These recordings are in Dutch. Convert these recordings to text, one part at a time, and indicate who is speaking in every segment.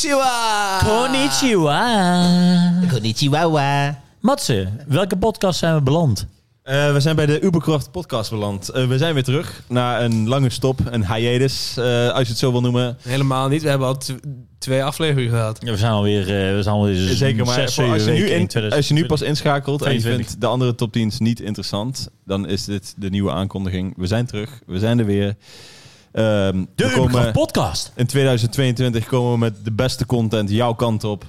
Speaker 1: Konnichiwa.
Speaker 2: Konnichiwa.
Speaker 1: Konnichiwa.
Speaker 2: Matze, welke podcast zijn we beland?
Speaker 3: Eh, we zijn bij de Ubercraft podcast beland. Eh, we zijn weer terug na een lange stop, een hiatus, eh, als je het zo wil noemen.
Speaker 1: Helemaal niet. We hebben al tw- twee afleveringen gehad.
Speaker 2: Ja, We zijn alweer, eh, we zijn alweer zes,
Speaker 3: Zeker, maar
Speaker 2: zes,
Speaker 3: voor als, je
Speaker 2: zeven
Speaker 3: nu
Speaker 2: weken in
Speaker 3: in-
Speaker 2: 2020.
Speaker 3: als je nu pas inschakelt en je
Speaker 2: 22.
Speaker 3: vindt de andere top 10's niet interessant, dan is dit de nieuwe aankondiging. We zijn terug, we zijn er weer. Ehm,
Speaker 2: De
Speaker 3: we komen-
Speaker 2: Ubercraft podcast.
Speaker 3: in 2022 komen we met de beste content jouw kant op.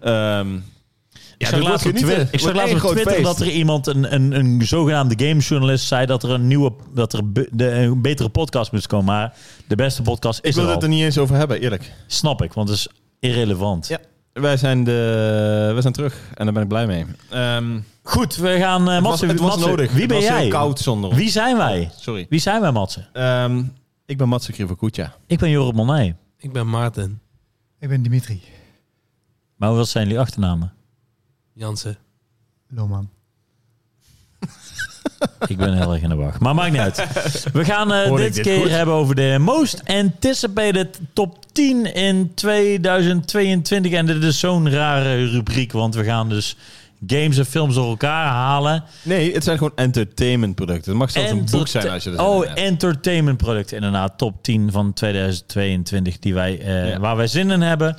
Speaker 3: Ehm
Speaker 2: Ik
Speaker 3: ja,
Speaker 2: zag
Speaker 3: dit wordt
Speaker 2: laatst op
Speaker 3: genieten.
Speaker 2: Twitter, ik zag
Speaker 3: Wordt
Speaker 2: laatst
Speaker 3: één
Speaker 2: op
Speaker 3: groot
Speaker 2: Twitter
Speaker 3: feest.
Speaker 2: dat er iemand, een, een, een zogenaamde gamejournalist, zei dat er een nieuwe, dat er be- de- een betere podcast moest komen. Maar de beste podcast
Speaker 3: Ik
Speaker 2: is
Speaker 3: wil
Speaker 2: er al.
Speaker 3: het er niet eens over hebben, eerlijk.
Speaker 2: Snap ik, want het is irrelevant.
Speaker 3: Ja. Wij zijn, de, wij zijn terug en daar ben ik blij mee. Ehm
Speaker 2: Goed, we gaan... eh,
Speaker 3: het was,
Speaker 2: Matze,
Speaker 3: het was
Speaker 2: Matze,
Speaker 3: nodig.
Speaker 2: Wie
Speaker 3: Het
Speaker 2: ben
Speaker 3: was heel
Speaker 2: jij?
Speaker 3: koud zonder ons.
Speaker 2: Wie zijn wij?
Speaker 3: Sorry.
Speaker 2: Wie zijn wij, Matze?
Speaker 3: Ehm, ik ben Mats Krivokucha.
Speaker 2: Ik ben Jorrit Monet.
Speaker 1: Ik ben Maarten
Speaker 4: Ik ben Dimitri
Speaker 2: Maar wat zijn jullie achternamen?
Speaker 1: Jansen.
Speaker 4: Loman.
Speaker 2: Ik ben heel erg in de wacht. Maar maakt niet uit. We gaan eh,
Speaker 3: Hoorde ik
Speaker 2: dit,
Speaker 3: dit
Speaker 2: keer
Speaker 3: goed?
Speaker 2: hebben over de most anticipated top 10 in 2022. En dit is zo'n rare rubriek, want we gaan dus games en films door elkaar halen.
Speaker 3: Nee, het zijn gewoon entertainmentproducten. Het mag zelfs een boek zijn als je dat
Speaker 2: Oh,
Speaker 3: hebt.
Speaker 2: entertainment product. Inderdaad, top 10 van 2022 die wij, eh,
Speaker 3: Ja.
Speaker 2: waar wij zin in hebben.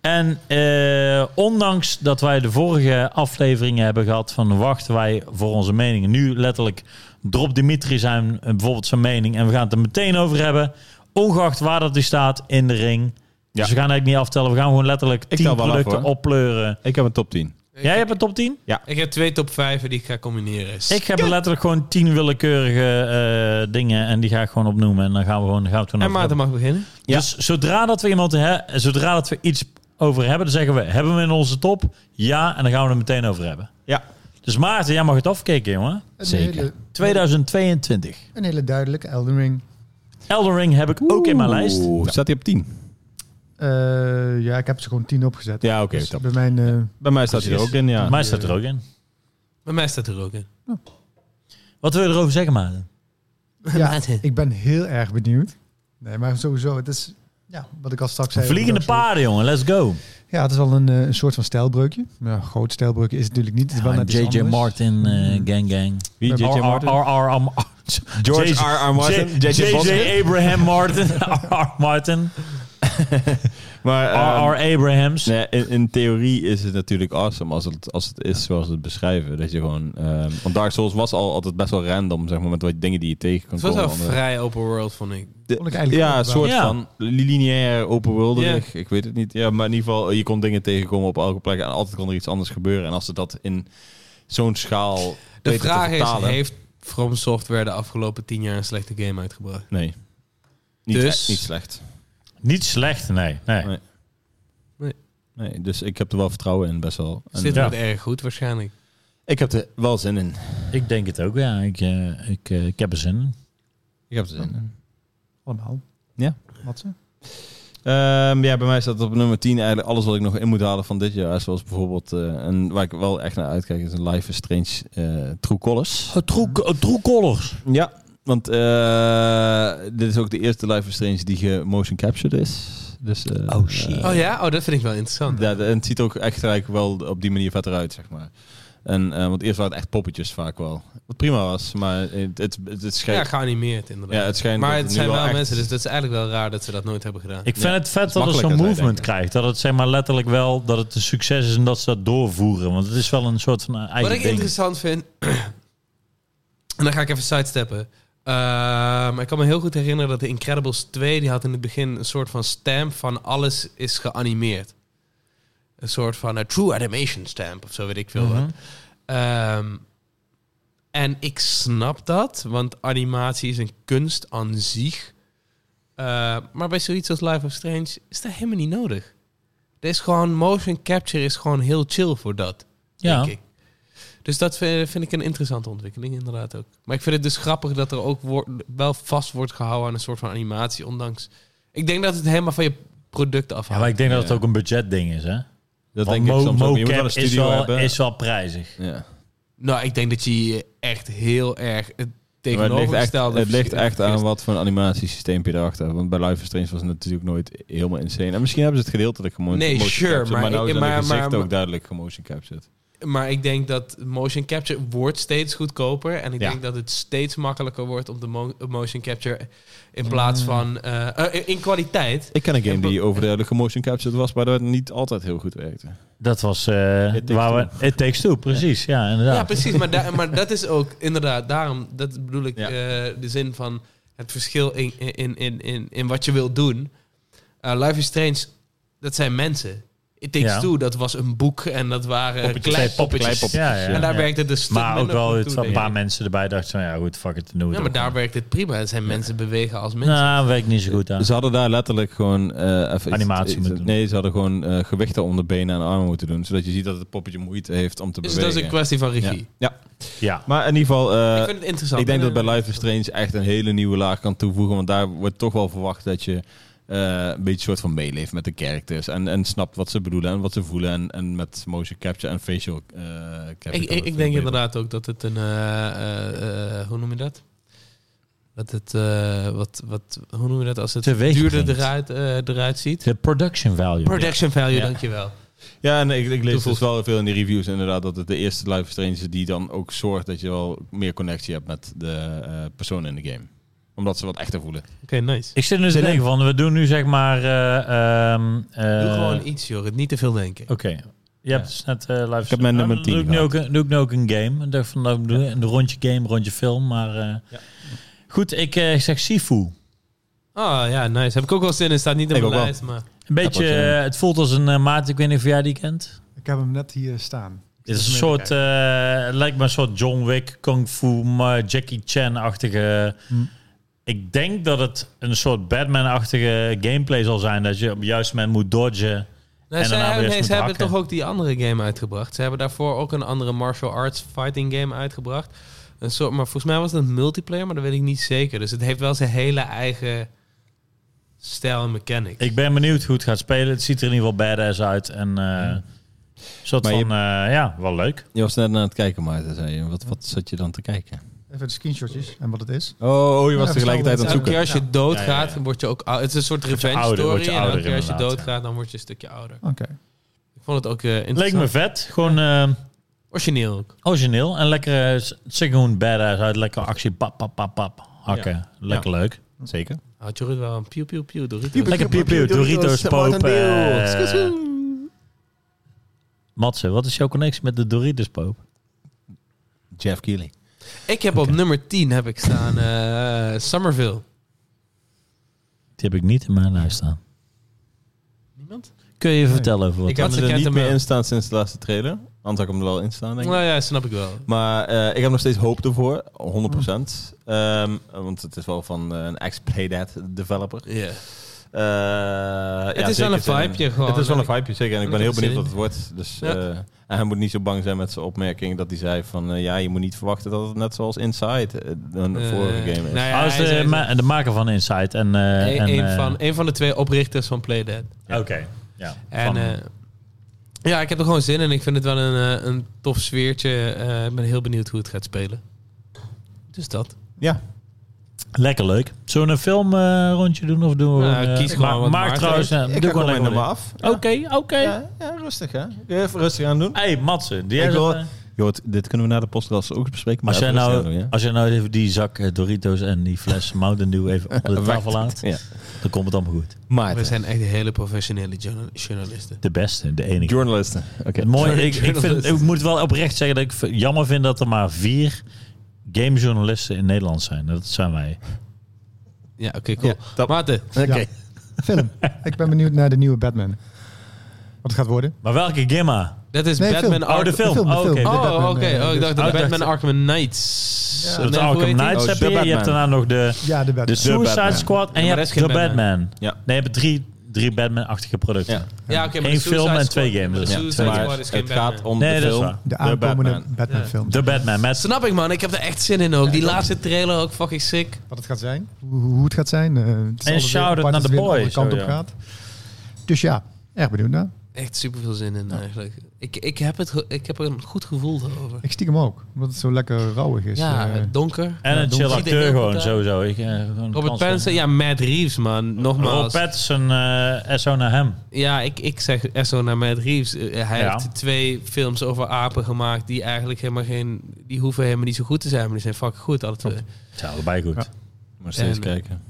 Speaker 2: En eh, ondanks dat wij de vorige afleveringen hebben gehad van wachten wij voor onze meningen. Nu letterlijk drop Dimitri zijn eh, bijvoorbeeld zijn mening en we gaan het er meteen over hebben. Ongeacht waar dat die staat in de ring.
Speaker 3: Ja.
Speaker 2: Dus we gaan eigenlijk niet aftellen. We gaan gewoon letterlijk
Speaker 3: Ik
Speaker 2: 10
Speaker 3: tel wel af,
Speaker 2: producten
Speaker 3: hoor.
Speaker 2: oppleuren.
Speaker 3: Ik heb een top 10.
Speaker 2: Jij hebt een top 10?
Speaker 1: Ik heb twee top vijven die ik ga combineren.
Speaker 2: Ik heb er letterlijk gewoon tien willekeurige eh, dingen en die ga ik gewoon opnoemen. En dan gaan we gewoon, dan gaan we het gewoon
Speaker 1: en
Speaker 2: over
Speaker 1: Maarten mag beginnen.
Speaker 2: hebben. Dus zodra dat we iemand hè, zodra dat we iets over hebben, dan zeggen we, hebben we in onze top? Ja, en dan gaan we er meteen over hebben.
Speaker 3: Ja.
Speaker 2: Dus Maarten, jij mag het afkijken, jongen.
Speaker 4: Een
Speaker 2: Zeker.
Speaker 4: hele-
Speaker 2: 2022.
Speaker 4: Een hele duidelijke Elden Ring.
Speaker 2: Elden Ring heb ik ook in mijn lijst.
Speaker 3: Oeh, staat hij op 10?
Speaker 4: Eh, ja, ik heb ze gewoon tien opgezet.
Speaker 3: Ja, oké.
Speaker 4: Dus
Speaker 3: top.
Speaker 4: bij mijn... eh,
Speaker 3: Bij mij staat hij er ook in, ja.
Speaker 2: Mij staat er ook in.
Speaker 1: Bij mij staat er ook in.
Speaker 2: Wat wil je erover zeggen, Maarten?
Speaker 4: ja,
Speaker 1: Maarten.
Speaker 4: ik ben heel erg benieuwd. Nee, maar sowieso, het is... Ja, wat ik al straks zei.
Speaker 2: Vliegende
Speaker 4: het is ook zo-
Speaker 2: paarden, jongen. Let's go.
Speaker 4: Ja, het is wel een, eh, een soort van stijlbreukje. Maar ja, groot stijlbreukje is het natuurlijk niet. Het is wel
Speaker 2: Ja,
Speaker 4: net iets
Speaker 2: J.J.
Speaker 4: anders.
Speaker 2: Ah,
Speaker 4: Mm.
Speaker 2: Martin, eh, gang gang.
Speaker 3: Wie, J.J.
Speaker 2: R.R.
Speaker 3: Martin?
Speaker 2: R.R. Am-
Speaker 3: George
Speaker 2: J.J.
Speaker 3: R.R. Martin.
Speaker 2: J-
Speaker 3: J.J. Bosker.
Speaker 2: J.J. Abraham Martin. R.R. Martin.
Speaker 3: Maar ehm,
Speaker 2: R.R. Abrahams.
Speaker 3: nee, in, in theorie is het natuurlijk awesome als het, als het is zoals ze het beschrijven. Dat je gewoon... ehm, want Dark Souls was al altijd best wel random, zeg maar, met wat dingen die je tegen kan
Speaker 1: Het was
Speaker 3: komen.
Speaker 1: wel
Speaker 3: Andere-
Speaker 1: vrij open world, vond ik.
Speaker 3: De-
Speaker 4: Vond ik eigenlijk
Speaker 3: ja,
Speaker 4: ook
Speaker 3: een
Speaker 4: wel.
Speaker 3: soort
Speaker 2: Ja.
Speaker 3: van lineair open worldig. Ik weet het niet. Ja, maar in ieder geval, je kon dingen tegenkomen op elke plek. En altijd kon er iets anders gebeuren. En als ze dat in zo'n schaal
Speaker 1: De
Speaker 3: weten te
Speaker 1: vraag is,
Speaker 3: vertalen-
Speaker 1: heeft From Software de afgelopen tien jaar een slechte game uitgebracht?
Speaker 3: Nee. Niet,
Speaker 1: Dus-
Speaker 3: echt, niet slecht.
Speaker 2: Niet slecht, nee. nee.
Speaker 3: Nee.
Speaker 1: Nee.
Speaker 3: Nee, dus ik heb er wel vertrouwen in, best wel. En eh,
Speaker 1: Dus dit
Speaker 2: Ja.
Speaker 1: wordt erg goed waarschijnlijk.
Speaker 3: Ik heb er wel zin in.
Speaker 2: Ik denk het ook, ja. Ik, eh, ik, eh, ik heb er zin in.
Speaker 3: Ik heb er zin in.
Speaker 4: Allemaal.
Speaker 3: Ja.
Speaker 4: Wat ze?
Speaker 3: Ehm, ja, bij mij staat op nummer 10 eigenlijk alles wat ik nog in moet halen van dit jaar. Zoals bijvoorbeeld, eh, en waar ik wel echt naar uitkijk, is een Life is Strange eh True Colors.
Speaker 2: True, true Colors.
Speaker 3: Ja, want eh, dit is ook de eerste live Strange die ge-motion captured is. Dus, eh,
Speaker 2: Oh, shit.
Speaker 3: eh,
Speaker 1: Oh ja? Oh, dat vind ik wel interessant.
Speaker 3: ja, en het ziet er ook echt gelijk wel op die manier vetter uit, zeg maar. En, eh, want eerst waren het echt poppetjes vaak wel. Wat prima was, maar het, het, het,
Speaker 1: Ja,
Speaker 3: schijnt...
Speaker 1: geanimeerd inderdaad.
Speaker 3: Ja, het schijnt
Speaker 1: maar
Speaker 3: dat
Speaker 1: het
Speaker 3: het
Speaker 1: zijn
Speaker 3: nu
Speaker 1: wel
Speaker 3: wel echt-
Speaker 1: mensen, dus dat is eigenlijk wel raar dat ze dat nooit hebben gedaan.
Speaker 2: Ik vind
Speaker 3: Ja,
Speaker 2: het vet
Speaker 3: dat
Speaker 2: dat
Speaker 3: is
Speaker 2: het zo'n
Speaker 3: makkelijker, wij
Speaker 2: movement
Speaker 3: denken.
Speaker 2: krijgt. Dat het zeg maar letterlijk wel dat het een succes is en dat ze dat doorvoeren. Want het is wel een soort van eh, eigen
Speaker 1: Wat ik
Speaker 2: ding.
Speaker 1: interessant vind, en dan ga ik even sidesteppen. Eh, maar ik kan me heel goed herinneren dat de Incredibles 2, die had in het begin een soort van stamp van alles is geanimeerd. Een soort van eh, true animation stamp of zo weet ik veel
Speaker 2: Mhm.
Speaker 1: wat. Ehm, en ik snap dat, want animatie is een kunst aan zich. Eh, maar bij zoiets als Life of Strange is dat helemaal niet nodig. Er is gewoon motion capture is gewoon heel chill voor dat
Speaker 2: Ja.
Speaker 1: denk ik. Dus dat vind, vind ik een interessante ontwikkeling, inderdaad ook. Maar ik vind het dus grappig dat er ook woor- wel vast wordt gehouden aan een soort van animatie, ondanks... Ik denk dat het helemaal van je product
Speaker 2: Ja,
Speaker 1: afhangt.
Speaker 2: maar ik denk dat het
Speaker 3: Ja.
Speaker 2: ook een budgetding is, hè?
Speaker 3: Dat
Speaker 2: Want
Speaker 3: denk ik
Speaker 2: mo-
Speaker 3: soms ook. Je moet wel
Speaker 2: mocap
Speaker 3: een
Speaker 2: is
Speaker 3: studio
Speaker 2: wel,
Speaker 3: hebben.
Speaker 2: is wel prijzig.
Speaker 3: Ja.
Speaker 1: Nou, ik denk dat je je echt heel erg... Het,
Speaker 3: Maar het ligt, echt,
Speaker 1: tegenovergestelde.
Speaker 3: het ligt echt aan
Speaker 1: verschil.
Speaker 3: wat voor een animatiesysteem je erachter. Want bij Live is Strange was het natuurlijk nooit helemaal insane. En misschien hebben ze het gedeeltelijk gemotion
Speaker 1: Nee,
Speaker 3: motion
Speaker 1: sure,
Speaker 3: captured,
Speaker 1: maar
Speaker 3: nou
Speaker 1: ik-
Speaker 3: is aan de
Speaker 1: maar- maar-
Speaker 3: gezichten
Speaker 1: maar-
Speaker 3: ook duidelijk gemotion captured.
Speaker 1: Maar ik denk dat motion capture wordt steeds goedkoper. En ik
Speaker 2: Ja.
Speaker 1: denk dat het steeds makkelijker wordt om de mo- motion capture in plaats
Speaker 2: Mm.
Speaker 1: van... eh, eh, in- in kwaliteit.
Speaker 3: Ik ken een game
Speaker 1: En pro-
Speaker 3: die overduidelijk gemotion captured was, maar dat niet altijd heel goed werkte.
Speaker 2: Dat was eh,
Speaker 3: Takes
Speaker 2: waar we... It Takes Two, precies. Ja, inderdaad.
Speaker 1: Ja, precies. Maar, da- maar dat is ook inderdaad, daarom dat bedoel ik
Speaker 3: Ja.
Speaker 1: eh, de zin van het verschil in, in, in, in, in wat je wilt doen. Eh, Life is Strange, dat zijn mensen. It Takes
Speaker 2: Ja.
Speaker 1: Two, dat was een boek en dat waren
Speaker 2: Poppetjes.
Speaker 1: klein
Speaker 2: Twee
Speaker 1: poppetjes.
Speaker 3: poppetjes.
Speaker 2: Ja, ja,
Speaker 1: en daar
Speaker 2: ja.
Speaker 1: werkte het een stuk
Speaker 2: Maar ook
Speaker 1: minder
Speaker 2: wel
Speaker 1: goed
Speaker 2: het,
Speaker 1: toe,
Speaker 2: een
Speaker 1: denk
Speaker 2: paar
Speaker 1: ik.
Speaker 2: mensen erbij dachten van ja goed, fuck it, dan doen we
Speaker 1: Ja,
Speaker 2: het
Speaker 1: maar
Speaker 2: ook
Speaker 1: daar werkt het prima. Het zijn mensen bewegen als mensen.
Speaker 2: Nou, werkt niet zo goed aan.
Speaker 3: Ze hadden daar letterlijk gewoon... eh, even iets-
Speaker 2: Animatie
Speaker 3: iets-
Speaker 2: moeten doen.
Speaker 3: Nee, ze hadden gewoon eh, gewichten om de benen en armen moeten doen. Zodat je ziet dat het poppetje moeite heeft om te
Speaker 1: dus dat
Speaker 3: bewegen.
Speaker 1: is een kwestie van regie.
Speaker 3: Ja.
Speaker 2: Ja.
Speaker 3: Maar in ieder geval... eh,
Speaker 1: ik vind het interessant.
Speaker 3: Ik denk dat bij Life is Strange echt een hele nieuwe laag kan toevoegen. Want daar wordt toch wel verwacht dat je eh, een beetje soort van meeleeft met de characters. En, en snapt wat ze bedoelen en wat ze voelen. En, en met motion capture en facial eh, capture.
Speaker 1: Ik,
Speaker 3: kan
Speaker 1: ik,
Speaker 3: het veel
Speaker 1: ik denk
Speaker 3: beter.
Speaker 1: inderdaad ook dat het een. eh, eh, eh, hoe noem je dat? Dat het. eh, wat, wat, hoe noem je dat als het
Speaker 2: Teweeg
Speaker 1: duurder
Speaker 2: brengt.
Speaker 1: eruit, eh, eruit ziet?
Speaker 2: De production value.
Speaker 1: Production value,
Speaker 2: Ja.
Speaker 1: dankjewel.
Speaker 3: Ja, en ik, ik lees dus
Speaker 1: Toevoegt.
Speaker 3: wel veel in de reviews inderdaad dat het de eerste Life is Strange is die dan ook zorgt dat je wel meer connectie hebt met de eh, personen in de game. Omdat ze wat echter voelen.
Speaker 1: Oké, nice.
Speaker 2: Ik zit dus nu te denken van, we doen nu zeg maar... eh, ehm, eh,
Speaker 1: Doe gewoon iets, joh. niet te veel denken.
Speaker 2: Oké. Je hebt dus net eh, live... Ik
Speaker 3: heb mijn nummer
Speaker 2: Doe
Speaker 3: 10
Speaker 2: ik nu ook, een- doe ik nu ook een game. Ik dacht van, nou, doe een rondje game, rondje film, maar... eh, Goed, ik eh, zeg Sifu.
Speaker 1: Oh ja, nice. Heb ik ook wel zin in. Staat niet op
Speaker 3: Ik
Speaker 1: mijn
Speaker 3: ook wel.
Speaker 1: lijst, maar...
Speaker 2: Een beetje,
Speaker 3: Appeltje.
Speaker 2: eh, het voelt als een eh, maat, ik weet niet of jij die kent.
Speaker 4: Ik heb hem net hier staan.
Speaker 2: Het is een soort, eh, het lijkt me een soort John Wick, Kung Fu, maar Jackie Chan-achtige...
Speaker 3: Hm.
Speaker 4: Hmm.
Speaker 2: Ik denk dat het een soort Batman-achtige gameplay zal zijn. Dat je op het juiste moment moet dodgen.
Speaker 1: Nou,
Speaker 2: En daarna
Speaker 1: zij
Speaker 2: weer
Speaker 1: hebben,
Speaker 2: eens
Speaker 1: nee,
Speaker 2: moeten
Speaker 1: ze hebben
Speaker 2: hakken.
Speaker 1: toch ook die andere game uitgebracht. Ze hebben daarvoor ook een andere martial arts fighting game uitgebracht. Een soort, maar volgens mij was het een multiplayer, maar dat weet ik niet zeker. Dus het heeft wel zijn hele eigen stijl en mechanic.
Speaker 2: Ik ben benieuwd hoe het gaat spelen. Het ziet er in ieder geval badass uit. En eh, soort
Speaker 3: Maar je-
Speaker 2: van, eh, ja, wel leuk.
Speaker 3: Je was net aan het kijken, Maarten, zei je. Wat, wat zat je dan te kijken?
Speaker 4: Even de screenshotjes en wat het is.
Speaker 3: Oh, je was
Speaker 4: Ja,
Speaker 3: tegelijkertijd aan het
Speaker 1: Elke
Speaker 3: zoeken.
Speaker 1: keer als je doodgaat,
Speaker 2: Ja, ja, ja.
Speaker 1: word je ook ouder. Het is een soort revenge
Speaker 2: ouder,
Speaker 1: story.
Speaker 2: word je
Speaker 1: en
Speaker 2: ouder
Speaker 1: elke keer als je
Speaker 2: inderdaad,
Speaker 1: doodgaat, dan word je een stukje ouder.
Speaker 4: Oké.
Speaker 1: Ik vond het ook eh
Speaker 2: Leek me
Speaker 1: interessant.
Speaker 2: vet. Gewoon eh,
Speaker 1: Origineel ook.
Speaker 2: origineel. En lekker, eh, het ziet er gewoon badass uit. Lekker actie, pap, pap, pap, pap. Hakken. Lekker leuk.
Speaker 3: Zeker.
Speaker 1: Had je wel een piu piu piu door
Speaker 2: Lekker piep, piep, Doritos, popen. eh. Matze, wat is jouw connectie met de Doritos poop?
Speaker 3: Jeff Keighley.
Speaker 1: Ik heb op nummer 10 heb ik staan eh Somerville.
Speaker 2: Die heb ik niet in mijn lijst staan.
Speaker 1: Niemand?
Speaker 2: Kun je vertellen over wat?
Speaker 1: Ik
Speaker 3: Ik heb
Speaker 1: Matze
Speaker 3: hem er
Speaker 1: kent
Speaker 3: niet
Speaker 1: hem
Speaker 3: meer
Speaker 1: wel.
Speaker 3: in staan sinds de laatste trailer. Anders had ik hem er wel in staan, denk ik.
Speaker 1: Nou ja, snap ik wel.
Speaker 3: Maar eh, ik heb nog steeds hoop ervoor, 100%. Ehm, want het is wel van eh, een ex-Playdead developer.
Speaker 1: Ja.
Speaker 3: Eh, ja,
Speaker 1: Het is wel
Speaker 3: zeker
Speaker 1: een
Speaker 3: zijn-
Speaker 1: vibeje gewoon.
Speaker 3: Het is wel een
Speaker 1: En ik-
Speaker 3: vibeje, zeker. En ik
Speaker 1: ik
Speaker 3: ben heel
Speaker 1: heb er
Speaker 3: benieuwd wat het
Speaker 1: zin
Speaker 3: wordt. Dus,
Speaker 1: Ja.
Speaker 3: eh, en hij moet niet zo bang zijn met zijn opmerking dat hij zei van... eh, ja, je moet niet verwachten dat het net zoals Inside eh, een
Speaker 1: Eh,
Speaker 3: vorige game is.
Speaker 1: nou ja,
Speaker 2: Ah, is
Speaker 1: hij
Speaker 2: de,
Speaker 1: zei-
Speaker 2: ma- de maker van Inside. En, eh,
Speaker 1: Een,
Speaker 2: en,
Speaker 1: een
Speaker 2: eh,
Speaker 1: van, een van de twee oprichters van Playdead.
Speaker 2: Oké. Ja.
Speaker 1: En
Speaker 2: Van-
Speaker 1: eh, ja, ik heb er gewoon zin in. Ik vind het wel een, eh, een tof sfeertje. Eh, ik ben heel benieuwd hoe het gaat spelen. Dus dat.
Speaker 3: Ja,
Speaker 2: Lekker leuk. Zullen we een film eh, rondje doen of doen we...
Speaker 1: Nou,
Speaker 2: een, eh,
Speaker 1: kies gewoon
Speaker 2: maak-
Speaker 1: wat
Speaker 2: maak
Speaker 1: Maarten
Speaker 2: trouwens... eh,
Speaker 3: ik
Speaker 2: doe
Speaker 3: ga
Speaker 2: gewoon
Speaker 3: gewoon
Speaker 2: lekker
Speaker 3: mijn nummer
Speaker 2: wat.
Speaker 3: af.
Speaker 2: Oké, oké.
Speaker 3: Ja, ja, rustig hè. Even rustig aan doen.
Speaker 2: Hey Matze, die
Speaker 3: Ik
Speaker 2: is
Speaker 3: wil-
Speaker 2: het, eh,
Speaker 3: Jood, dit kunnen we na de podcast ook bespreken. Maar
Speaker 2: als, jij
Speaker 3: even rustig
Speaker 2: nou,
Speaker 3: aan doen, ja.
Speaker 2: als jij nou even die zak eh, Doritos en die fles Mountain Dew even op de tafel laat,
Speaker 3: Ja.
Speaker 2: dan komt het allemaal goed.
Speaker 1: We
Speaker 3: Maarten.
Speaker 1: zijn echt hele professionele journa- journalisten.
Speaker 2: De beste, de enige.
Speaker 3: Journalisten. Oké.
Speaker 2: Het mooie,
Speaker 1: Sorry,
Speaker 2: ik, ik, vind,
Speaker 1: journalist.
Speaker 2: ik moet wel oprecht zeggen dat ik v- jammer vind dat er maar vier gamejournalisten in Nederland zijn. Dat zijn wij.
Speaker 1: Ja, oké, cool.
Speaker 3: Ja, dat-
Speaker 1: Maarten,
Speaker 3: Oké.
Speaker 4: Ja. Film. ik ben benieuwd naar de nieuwe Batman. Wat het gaat worden.
Speaker 2: Maar welke Gimma?
Speaker 1: dat is
Speaker 4: Nee, film.
Speaker 1: Batman
Speaker 2: Oh, de
Speaker 1: Arkham...
Speaker 2: film.
Speaker 4: film, de
Speaker 2: Oh, oké.
Speaker 4: film.
Speaker 1: Oh,
Speaker 4: Batman,
Speaker 1: oké.
Speaker 4: eh,
Speaker 1: Oh, ik dacht dat
Speaker 2: Oh,
Speaker 1: Batman
Speaker 2: dacht-
Speaker 1: Arkham Knights...
Speaker 4: Ja.
Speaker 1: Eh,
Speaker 2: Dat
Speaker 1: nee, hoe
Speaker 2: Arkham
Speaker 1: heet die?
Speaker 2: Knights
Speaker 3: Oh,
Speaker 2: heb
Speaker 3: The
Speaker 2: je. Je
Speaker 3: Batman.
Speaker 2: hebt daarna nog de,
Speaker 4: Ja, de
Speaker 2: de
Speaker 4: Batman.
Speaker 2: Suicide
Speaker 3: Batman.
Speaker 2: Squad en
Speaker 1: Ja,
Speaker 2: je
Speaker 1: maar
Speaker 2: hebt
Speaker 1: dat is
Speaker 2: The
Speaker 1: geen
Speaker 2: Batman.
Speaker 3: Ja.
Speaker 2: Nee, je hebt drie, drie Batman-achtige producten.
Speaker 3: Ja.
Speaker 1: Ja, oké, maar
Speaker 2: Eén
Speaker 1: de Suicide
Speaker 2: film en
Speaker 1: Squad-
Speaker 2: twee games.
Speaker 1: maar de
Speaker 2: Ja,
Speaker 1: Suicide
Speaker 2: twee
Speaker 1: Squad
Speaker 3: Maar
Speaker 1: is
Speaker 3: het
Speaker 1: geen Batman.
Speaker 3: gaat om
Speaker 2: Nee,
Speaker 3: de
Speaker 2: dat is
Speaker 3: film.
Speaker 2: waar.
Speaker 4: De aankomende
Speaker 3: Batman.
Speaker 4: Batman,
Speaker 1: Ja.
Speaker 4: film.
Speaker 2: De Batman met
Speaker 1: Snap ik, man. Ik heb er echt zin in ook. Die laatste trailer ook fucking sick.
Speaker 4: Wat het gaat zijn. Hoe, hoe het gaat zijn. eh, het is altijd weer
Speaker 2: shout-out
Speaker 4: apart
Speaker 2: naar
Speaker 4: dat
Speaker 2: de
Speaker 4: het weer een
Speaker 2: boy,
Speaker 4: andere kant
Speaker 2: zo,
Speaker 4: op
Speaker 2: ja.
Speaker 4: gaat. Dus ja, erg benieuwd naar.
Speaker 1: echt super veel zin in eigenlijk. Ik, ik, heb het, ge- ik heb er een goed gevoel over.
Speaker 4: Ik stiekem ook, omdat het zo lekker rauwig is.
Speaker 1: ja,
Speaker 4: eh.
Speaker 1: het donker.
Speaker 2: En
Speaker 4: Ja,
Speaker 2: een
Speaker 4: dan
Speaker 2: chill
Speaker 1: zie je de
Speaker 2: acteur
Speaker 1: hele
Speaker 2: gewoon,
Speaker 1: tijd-
Speaker 2: sowieso. Ik, eh, gewoon
Speaker 1: Robert
Speaker 2: kans-
Speaker 1: Pattinson, ja, Matt Reeves, man.
Speaker 2: Rob
Speaker 1: Nogmaals.
Speaker 2: Pattinson, eh SO naar hem.
Speaker 1: Ja, ik, ik zeg SO naar Matt Reeves. Eh, hij
Speaker 2: Ja.
Speaker 1: heeft twee films over apen gemaakt die eigenlijk helemaal geen... Die hoeven helemaal niet zo goed te zijn, maar die zijn fucking goed, alle twee.
Speaker 2: Het zijn allebei goed.
Speaker 4: Ja.
Speaker 3: Maar steeds
Speaker 1: En-
Speaker 3: kijken.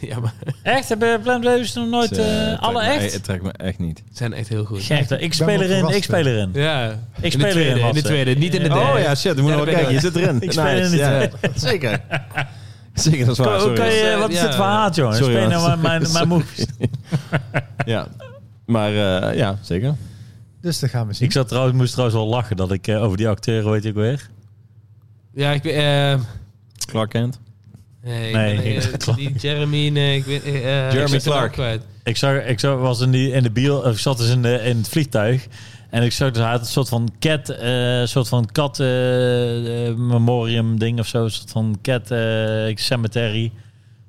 Speaker 1: ja, maar
Speaker 2: Echt? Hebben Blam Davis nog nooit
Speaker 3: Het, eh,
Speaker 2: eh,
Speaker 3: trekt
Speaker 2: alle
Speaker 3: me-
Speaker 2: echt?
Speaker 3: Het trekt me echt niet.
Speaker 1: ze zijn echt heel goed.
Speaker 2: Echt, ik speel
Speaker 4: wel
Speaker 2: erin, ik
Speaker 4: verrast,
Speaker 2: speel
Speaker 4: hè.
Speaker 2: erin.
Speaker 1: Ja,
Speaker 2: Ik
Speaker 1: in de
Speaker 2: speel erin,
Speaker 1: tweede, in de
Speaker 2: Lasse.
Speaker 1: tweede, niet in de
Speaker 2: Oh,
Speaker 1: derde.
Speaker 3: Oh ja, shit, dan moet
Speaker 1: Ja,
Speaker 3: je
Speaker 1: daar
Speaker 3: wel
Speaker 1: ben ik
Speaker 3: kijken. Je zit erin.
Speaker 2: Ik speel in de
Speaker 3: ja. Zeker. Zeker, dat is waar.
Speaker 2: Oké,
Speaker 3: Sorry.
Speaker 1: eh,
Speaker 2: wat is
Speaker 1: ja.
Speaker 2: het verhaal, jongen?
Speaker 3: Sorry,
Speaker 2: Speel nou
Speaker 3: Lasse.
Speaker 2: maar mijn, mijn
Speaker 3: Sorry.
Speaker 2: moves.
Speaker 3: Ja. Maar eh, ja, zeker.
Speaker 4: Dus dat gaan we zien.
Speaker 2: Ik zat trouwens, moest trouwens wel lachen dat ik eh, over die acteur, weet ik weer.
Speaker 1: Ja, ik ben... eh,
Speaker 3: Clark Kent.
Speaker 1: nee,
Speaker 2: Nee,
Speaker 1: ik ben, eh,
Speaker 2: ik- Clark.
Speaker 1: die Jeremy... Nee, ik ben, eh, eh, ik ben zijn naam
Speaker 3: Clark.
Speaker 1: kwijt.
Speaker 2: Ik, zag, ik zag, was in, die, in de bio, of ik zat dus in, de, in het vliegtuig. En ik zag dus hij had een soort van cat, eh, soort van cat eh, eh, memoriam ding of zo. Een soort van cat eh, cemetery.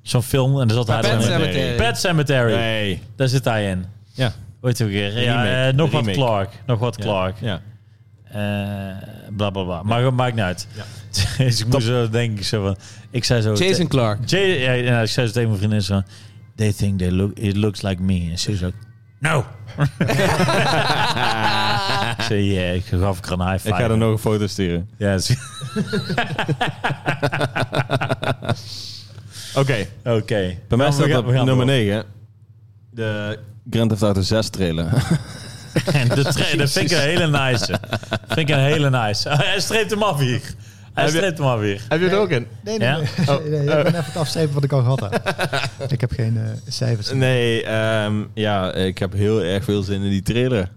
Speaker 2: Zo'n film. En daar zat hij
Speaker 1: Pet
Speaker 2: dan in.
Speaker 1: Sematary.
Speaker 2: Pet Cemetery.
Speaker 3: Nee.
Speaker 2: Daar zit hij in.
Speaker 3: Ja.
Speaker 2: Weet je ook weer. Ja,
Speaker 3: Remake.
Speaker 2: eh, nog wat
Speaker 3: Remake.
Speaker 2: Clark. Nog wat Clark.
Speaker 3: Ja.
Speaker 2: Eh, bla bla bla. Maar maakt niet uit.
Speaker 3: Ja.
Speaker 2: dus ik moest zo denken. Zo van, ik zei zo.
Speaker 1: Jason Clark.
Speaker 2: Jay, ja, ja, ik zei zo tegen mijn vriendin zo. They think they look, it looks like me. En ze is ook, no. ik zei, yeah, ik gaf ik een high
Speaker 3: Ik
Speaker 2: five.
Speaker 3: ga er nog een foto sturen.
Speaker 2: Ja, ze-
Speaker 3: Oké.
Speaker 2: Oké.
Speaker 3: Bij mij
Speaker 2: Nou,
Speaker 3: staat
Speaker 2: we gaan-
Speaker 3: op
Speaker 2: we gaan
Speaker 3: nummer
Speaker 2: door.
Speaker 3: 9. De Grand Theft Auto 6 trailer.
Speaker 2: En de tra- dat vind ik een hele nice. vind ik een hele nice. Hij streept hem af hier. Hij
Speaker 3: Heb je-
Speaker 2: streept hem af hier.
Speaker 3: Heb je het ook in?
Speaker 4: Nee, nee,
Speaker 2: Ja?
Speaker 4: nee. nee, nee, ik ben even het afstrepen wat ik al gehad heb. ik heb geen eh, cijfers.
Speaker 3: Nee, ehm, ja, ik heb heel erg veel zin in die trailer.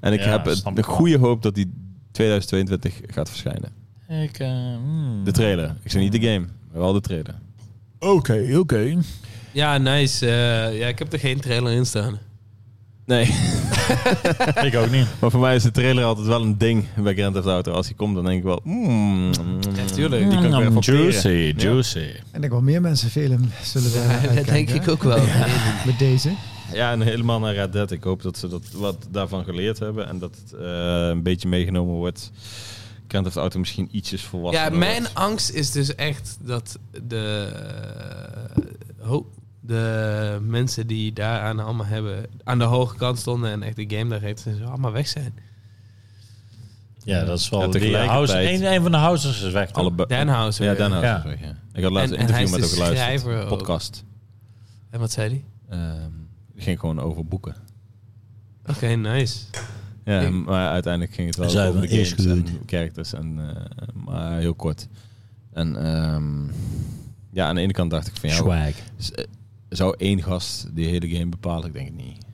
Speaker 3: En ik
Speaker 2: Ja,
Speaker 3: heb het,
Speaker 2: snap
Speaker 3: de
Speaker 2: ik wel.
Speaker 3: goede hoop dat die 2022 gaat verschijnen.
Speaker 2: Ik, eh, hmm.
Speaker 3: De trailer. Ik zeg niet de game, maar wel de trailer.
Speaker 2: Oké, oké.
Speaker 1: Ja, nice. Eh, ja, ik heb er geen trailer in staan.
Speaker 3: Nee,
Speaker 2: Ik ook niet.
Speaker 3: maar voor mij is de trailer altijd wel een ding bij Grand Theft Auto. Als die komt, dan denk ik wel... Mm,
Speaker 1: Ja, tuurlijk.
Speaker 3: Die kan ik weer even opteren.
Speaker 2: Mm, juicy, juicy.
Speaker 4: En ik wil meer mensen film zullen we eh,
Speaker 1: Ja, dat denk ik ook wel.
Speaker 4: Met deze.
Speaker 3: Ja, en helemaal naar Red Dead. Ik hoop dat ze dat, wat daarvan geleerd hebben. En dat het eh, een beetje meegenomen wordt. Grand Theft Auto misschien ietsjes volwassen.
Speaker 1: Ja, mijn angst is dus echt dat de, eh, ho, de mensen die daaraan allemaal hebben, aan de hoge kant stonden en echt de game daar heeft, en zo allemaal weg zijn.
Speaker 2: Ja, dat is wel...
Speaker 3: Ja,
Speaker 2: die
Speaker 3: tegelijkertijd-
Speaker 2: house, een, een van de houses is weg. toch?
Speaker 3: Alle
Speaker 1: Denhauser.
Speaker 3: Eh, Ja, Denhauser.
Speaker 2: Ja.
Speaker 3: is weg, ja. Ik had laatst
Speaker 1: En-
Speaker 3: een
Speaker 1: en hij
Speaker 3: interview
Speaker 1: is
Speaker 3: met
Speaker 1: de
Speaker 3: hem geluisterd.
Speaker 1: schrijver ook.
Speaker 3: Podcast.
Speaker 1: En wat zei die?
Speaker 3: Ehm, het ging gewoon over boeken.
Speaker 1: Oké, nice.
Speaker 3: Ja,
Speaker 1: Ik-
Speaker 3: maar uiteindelijk ging het wel
Speaker 2: Zij
Speaker 3: over de
Speaker 2: hebben
Speaker 3: games
Speaker 2: eerst
Speaker 3: en
Speaker 2: gedoe.
Speaker 3: characters. En, eh, maar heel kort. En ehm, ja, aan de ene kant dacht ik van... Ja,
Speaker 2: Swag.
Speaker 3: z- eh, zou één gast die hele game bepalen? Ik denk het niet.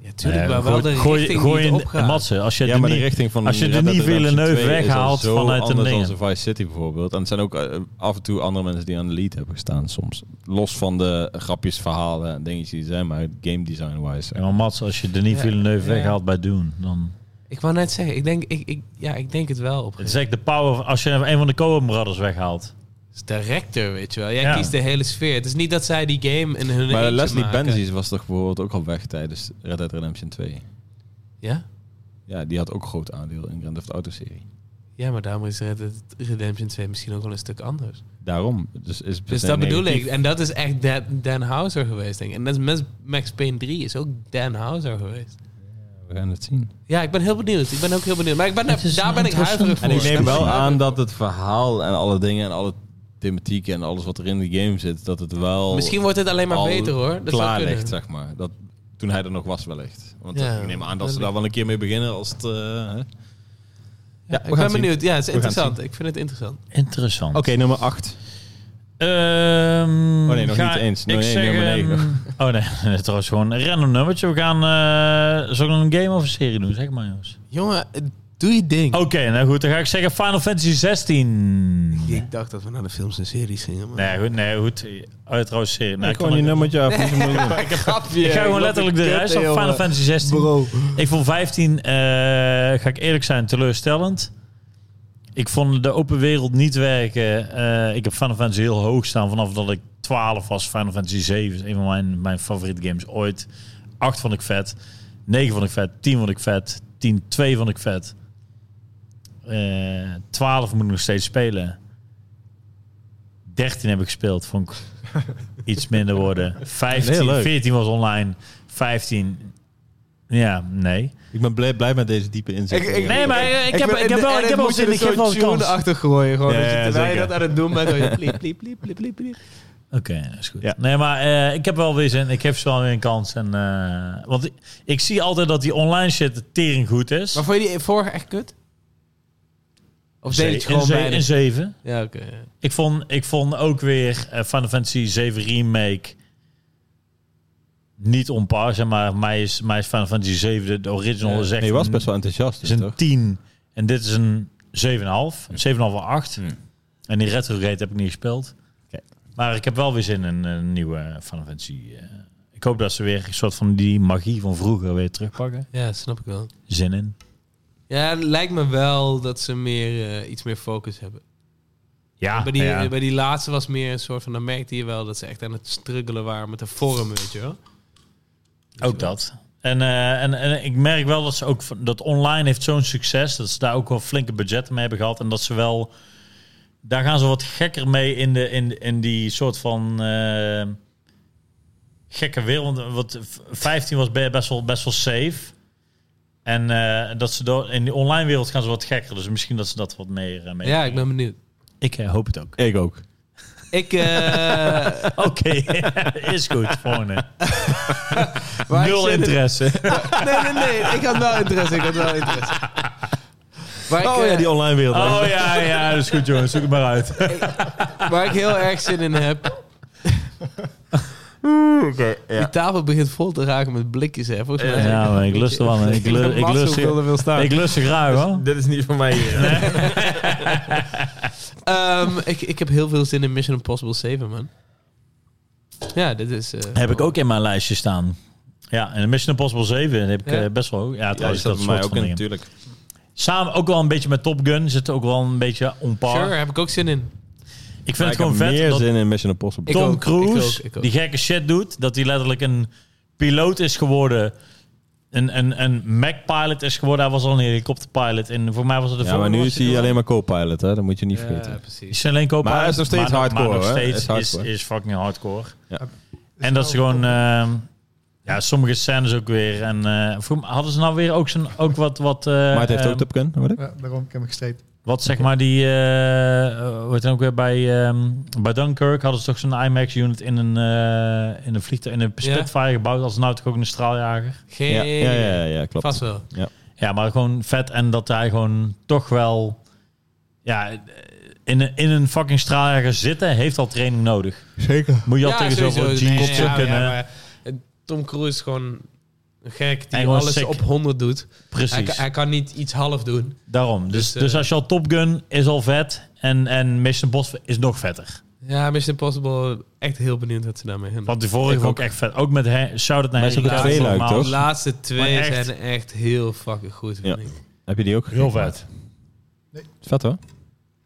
Speaker 1: Ja, tuurlijk,
Speaker 2: Nee,
Speaker 1: maar wel de richting die het opgaat.
Speaker 2: Matze, als je
Speaker 3: ja,
Speaker 2: de
Speaker 3: maar de
Speaker 2: nie-
Speaker 3: richting van
Speaker 2: als je
Speaker 3: Red
Speaker 2: de
Speaker 3: Dead
Speaker 2: niet
Speaker 3: Redemption
Speaker 2: Villeneuve
Speaker 3: 2 is al
Speaker 2: weghaalt
Speaker 3: zo
Speaker 2: vanuit een
Speaker 3: anders
Speaker 2: ding.
Speaker 3: dan Vice City bijvoorbeeld. En het zijn ook eh, af en toe andere mensen die aan de lead hebben gestaan soms. Los van de grapjes, verhalen en dingetjes die er zijn, maar game design wise.
Speaker 2: Ja, maar Mats, als je Denis
Speaker 1: Ja,
Speaker 2: Villeneuve
Speaker 1: ja.
Speaker 2: weghaalt bij Doen, dan...
Speaker 1: Ik wou net zeggen, ik denk, ik, ik, ja, ik denk het wel op.
Speaker 2: Het is echt de power... Als je een van de Coen Brothers weghaalt.
Speaker 1: Het is director, weet je wel. Jij
Speaker 2: Ja.
Speaker 1: kiest de hele sfeer. Het is niet dat zij die game in hun
Speaker 3: Maar
Speaker 1: eentje
Speaker 3: Leslie
Speaker 1: maken.
Speaker 3: Benzies was toch bijvoorbeeld ook al weg tijdens Red Dead Redemption 2.
Speaker 1: Ja?
Speaker 3: Ja, die had ook groot aandeel in Grand Theft Auto serie.
Speaker 1: Ja, maar daarom is Red Dead Redemption 2 misschien ook wel een stuk anders.
Speaker 3: Daarom. Dus, is het
Speaker 1: Dus dat bedoel ik. En dat is echt Dan, Dan Houser geweest, denk ik. En dat is Max, Max Payne 3 is ook Dan Houser geweest.
Speaker 3: We gaan het zien.
Speaker 1: Ja, ik ben heel benieuwd. Ik ben ook heel benieuwd. Maar ik ben, daar-
Speaker 2: is
Speaker 1: daar ben ik huiverig voor.
Speaker 3: En ik neem wel aan dat het verhaal en alle dingen en alle thematiek en alles wat er in de game zit, dat het wel...
Speaker 1: Misschien wordt het alleen maar
Speaker 3: al
Speaker 1: beter, hoor. Dat zou
Speaker 3: klaar
Speaker 1: kunnen.
Speaker 3: ligt, zeg maar. Dat, toen hij er nog was, wellicht. Want eh,
Speaker 1: Ja,
Speaker 3: ik neem aan dat ze
Speaker 1: wellicht.
Speaker 3: daar wel een keer mee beginnen als het... eh, hè. ja, we gaan
Speaker 1: ik ben
Speaker 3: het zien.
Speaker 1: benieuwd. Ja, het
Speaker 3: We
Speaker 1: is
Speaker 3: gaan het
Speaker 1: interessant. Ik vind het interessant.
Speaker 2: Interessant.
Speaker 3: Oké, nummer 8.
Speaker 2: Ehm,
Speaker 3: Oh nee, nog
Speaker 2: ga
Speaker 3: niet eens.
Speaker 2: ik
Speaker 3: Nee,
Speaker 2: zeg,
Speaker 3: nummer
Speaker 2: ehm, Oh nee, het is trouwens gewoon een random nummertje. We gaan... eh zal ik nog een game of een serie doen? Zeg maar, jongens.
Speaker 1: Jongen, doe je ding.
Speaker 2: Oké, nou goed. Dan ga ik zeggen Final Fantasy 16.
Speaker 1: Ik dacht dat we naar de films en series gingen. maar-
Speaker 2: Oh. Nee, goed. Nee, goed. Oh, trouwens, serie. Nou,
Speaker 3: ik
Speaker 2: ik kan
Speaker 3: gewoon je
Speaker 2: ook-
Speaker 3: nummertje af. dus je moet-
Speaker 2: Ik ga gewoon letterlijk de reis op Final Fantasy 16. Ik vond 15, eh, ga ik eerlijk zijn, teleurstellend. Ik vond de open wereld niet werken. Eh, ik heb Final Fantasy heel hoog staan vanaf dat ik 12 was. Final Fantasy 7 is een van mijn, mijn favoriete games ooit. 8 vond ik vet. 9 vond ik vet. 10 vond ik vet. 10, 2 vond ik vet. Eh 12 moet ik nog steeds spelen. 13 heb ik gespeeld. Vond ik iets minder worden. 15,
Speaker 3: Heel leuk.
Speaker 2: 14 was online. 15. Ja, nee.
Speaker 3: Ik ben blij, blij met deze diepe inzichten.
Speaker 1: Ik- ik-
Speaker 2: Nee, maar eh, ik heb, ik heb wel, ik heb wel zin. Ik geef wel een kans. Oké,
Speaker 1: achter gooien. Gewoon
Speaker 3: Ja,
Speaker 1: dat je,
Speaker 3: ja,
Speaker 1: terwijl je
Speaker 3: zeker.
Speaker 1: dat aan het doen bent. hoor je pliep, pliep, pliep, pliep, pliep, pliep.
Speaker 2: is goed.
Speaker 3: Ja.
Speaker 2: Nee, maar eh, ik heb wel weer zin. Ik geef ze wel weer een kans. En, eh, want ik, ik zie altijd dat die online shit tering goed is.
Speaker 1: Maar vond je die vorige echt kut? Of
Speaker 2: Ze-
Speaker 1: deed je
Speaker 2: een
Speaker 1: het gewoon
Speaker 2: ze-
Speaker 1: bij
Speaker 2: een 7.
Speaker 1: Ja, oké. ja.
Speaker 2: Ik vond, ik vond ook weer eh, Final Fantasy 7 Remake niet onpaar. Zeg maar mij is, mij is Final Fantasy 7, de, de original, is echt
Speaker 3: nee, je was
Speaker 2: een-
Speaker 3: best wel enthousiast,
Speaker 2: is
Speaker 3: dus,
Speaker 2: een
Speaker 3: toch?
Speaker 2: 10. En dit is een 7,5. Een 7,5 of 8.
Speaker 3: Hmm.
Speaker 2: En die retrograde heb ik niet gespeeld.
Speaker 3: Oké.
Speaker 2: Maar ik heb wel weer zin in een nieuwe Final Fantasy. eh. ik hoop dat ze weer een soort van die magie van vroeger weer terugpakken.
Speaker 1: Ja, snap ik wel.
Speaker 2: Zin in.
Speaker 1: Ja, het lijkt me wel dat ze meer, eh, iets meer focus hebben.
Speaker 3: Ah,
Speaker 2: Ja,
Speaker 1: bij, die,
Speaker 2: ja.
Speaker 1: bij die laatste was meer een soort van... Dan merkte je wel dat ze echt aan het struggelen waren met de vorm, weet je wel.
Speaker 2: ook dat. En, eh, en, en ik merk wel dat ze ook van- dat online heeft zo'n succes. Dat ze daar ook wel flinke budgetten mee hebben gehad. En dat ze wel. Daar gaan ze wat gekker mee in, de, in, in die soort van. eh, gekke wereld. Wat, 15 was be- best wel, best wel safe. En eh, dat ze door, in die online wereld gaan ze wat gekker. Dus misschien dat ze dat wat meer eh, mee.
Speaker 1: Ja, ik ben benieuwd.
Speaker 2: ik eh, hoop het ook.
Speaker 3: Ik ook.
Speaker 1: Ik, eh
Speaker 2: Oké, is goed. Volgende.
Speaker 1: waar ik
Speaker 2: Nul
Speaker 1: zin in-
Speaker 2: interesse.
Speaker 1: Nee, nee, nee. Ik had wel interesse. Ik had wel interesse. Waar ik,
Speaker 3: Oh ja,
Speaker 1: eh,
Speaker 3: die online wereld.
Speaker 2: Oh ja, ja, dat is goed jongens. Zoek het maar uit.
Speaker 1: waar ik heel erg zin in heb. Die tafel begint vol te raken met blikjes, hè? Volgens mij.
Speaker 2: Ja, maar ik lust er wel. Ik, lu- ik,
Speaker 1: Mats
Speaker 2: lust,
Speaker 1: hoeveel
Speaker 2: ik,
Speaker 1: er wil staan.
Speaker 2: lust er graag hoor.
Speaker 3: Dit is niet voor mij hier.
Speaker 1: Ehm, ik, ik heb heel veel zin in Mission Impossible 7, man. Ja, dit is... eh,
Speaker 2: Heb ik ook in mijn lijstje staan. Ja, en de Mission Impossible 7 heb ik
Speaker 1: Ja.
Speaker 2: eh, best wel. Ja,
Speaker 3: Ja, dus
Speaker 2: trouwens,
Speaker 3: dat
Speaker 2: dat
Speaker 3: voor mij
Speaker 2: soort
Speaker 3: ook
Speaker 2: van
Speaker 3: in,
Speaker 2: dingen.
Speaker 3: natuurlijk.
Speaker 2: Samen ook wel een beetje met Top Gun. Zit ook wel een beetje on par.
Speaker 1: Sure, heb ik ook zin in.
Speaker 2: Ik vind
Speaker 3: Maar
Speaker 2: het gewoon
Speaker 3: ik heb
Speaker 2: vet
Speaker 3: meer
Speaker 2: dat
Speaker 3: zin in Mission Impossible.
Speaker 1: Ik
Speaker 2: Tom
Speaker 1: ook,
Speaker 2: Cruise
Speaker 1: ik ook, ik ook.
Speaker 2: die gekke shit doet. Dat hij letterlijk een piloot is geworden. Een, een, een Mac-pilot is geworden. Hij was al een helikopterpilot. En voor mij was het de
Speaker 3: ja,
Speaker 2: vorige
Speaker 3: maar nu
Speaker 2: was
Speaker 3: is hij alleen maar co-pilot, hè? Dat moet je niet
Speaker 1: Ja,
Speaker 3: vergeten.
Speaker 1: precies.
Speaker 2: Is hij alleen co-pilot.
Speaker 3: Maar hij is nog steeds
Speaker 2: maar Maar
Speaker 3: hardcore,
Speaker 2: nog
Speaker 3: hè?
Speaker 2: steeds
Speaker 3: Is
Speaker 2: is,
Speaker 3: hardcore.
Speaker 2: is fucking hardcore.
Speaker 4: Is
Speaker 2: En dat ze
Speaker 4: wel-
Speaker 2: gewoon... ehm, ja, sommige scènes ook weer. En eh, vroeg me- hadden ze nou weer ook, zijn, ook wat... wat eh,
Speaker 3: Maar het heeft
Speaker 2: ehm,
Speaker 3: ook Top Gun, hoor ik.
Speaker 4: Ja, daarom, ik heb hem gestreept.
Speaker 2: Wat zeg maar die... eh wordt dan ook weer bij, ehm, bij Dunkirk hadden ze toch zo'n IMAX-unit in een, eh, in een vliegtuig... in een
Speaker 1: Ja.
Speaker 2: Spitfire gebouwd. Als nou toch ook een straaljager.
Speaker 1: Geen...
Speaker 3: Ja, ja, ja, ja, klopt.
Speaker 1: eh, Vast wel.
Speaker 2: Ja, maar gewoon vet. En dat hij gewoon toch wel... Ja, in een, in een fucking straaljager zitten heeft al training nodig.
Speaker 3: Zeker.
Speaker 2: Moet je al tegen zoveel G's
Speaker 1: sowieso. Nee, ja,
Speaker 2: kunnen.
Speaker 1: ja, maar, eh, Tom Cruise is gewoon een gek die
Speaker 2: Hij was
Speaker 1: alles
Speaker 2: sick.
Speaker 1: op 100 doet. Hij,
Speaker 2: Precies.
Speaker 1: kan- hij kan niet iets half doen.
Speaker 2: Daarom. Dus,
Speaker 1: Dus,
Speaker 2: dus,
Speaker 1: eh,
Speaker 2: als je al Top Gun is al vet en, en Mission Impossible is nog vetter.
Speaker 1: Ja, Mission Impossible, echt heel benieuwd wat ze daarmee gaan doen.
Speaker 2: Want die vorige
Speaker 3: Ik
Speaker 2: vond ik echt vet. Ook met Hen- Shout-out naar
Speaker 3: Maar is
Speaker 2: Henry
Speaker 3: ook een
Speaker 2: Cavill,
Speaker 3: tweeluik,
Speaker 2: maar
Speaker 1: De
Speaker 3: toch?
Speaker 1: laatste twee
Speaker 2: Maar echt-
Speaker 1: zijn echt heel fucking goed, vind
Speaker 3: Ja.
Speaker 1: ik.
Speaker 3: Heb je die ook?
Speaker 2: Heel vet.
Speaker 3: Vet hoor.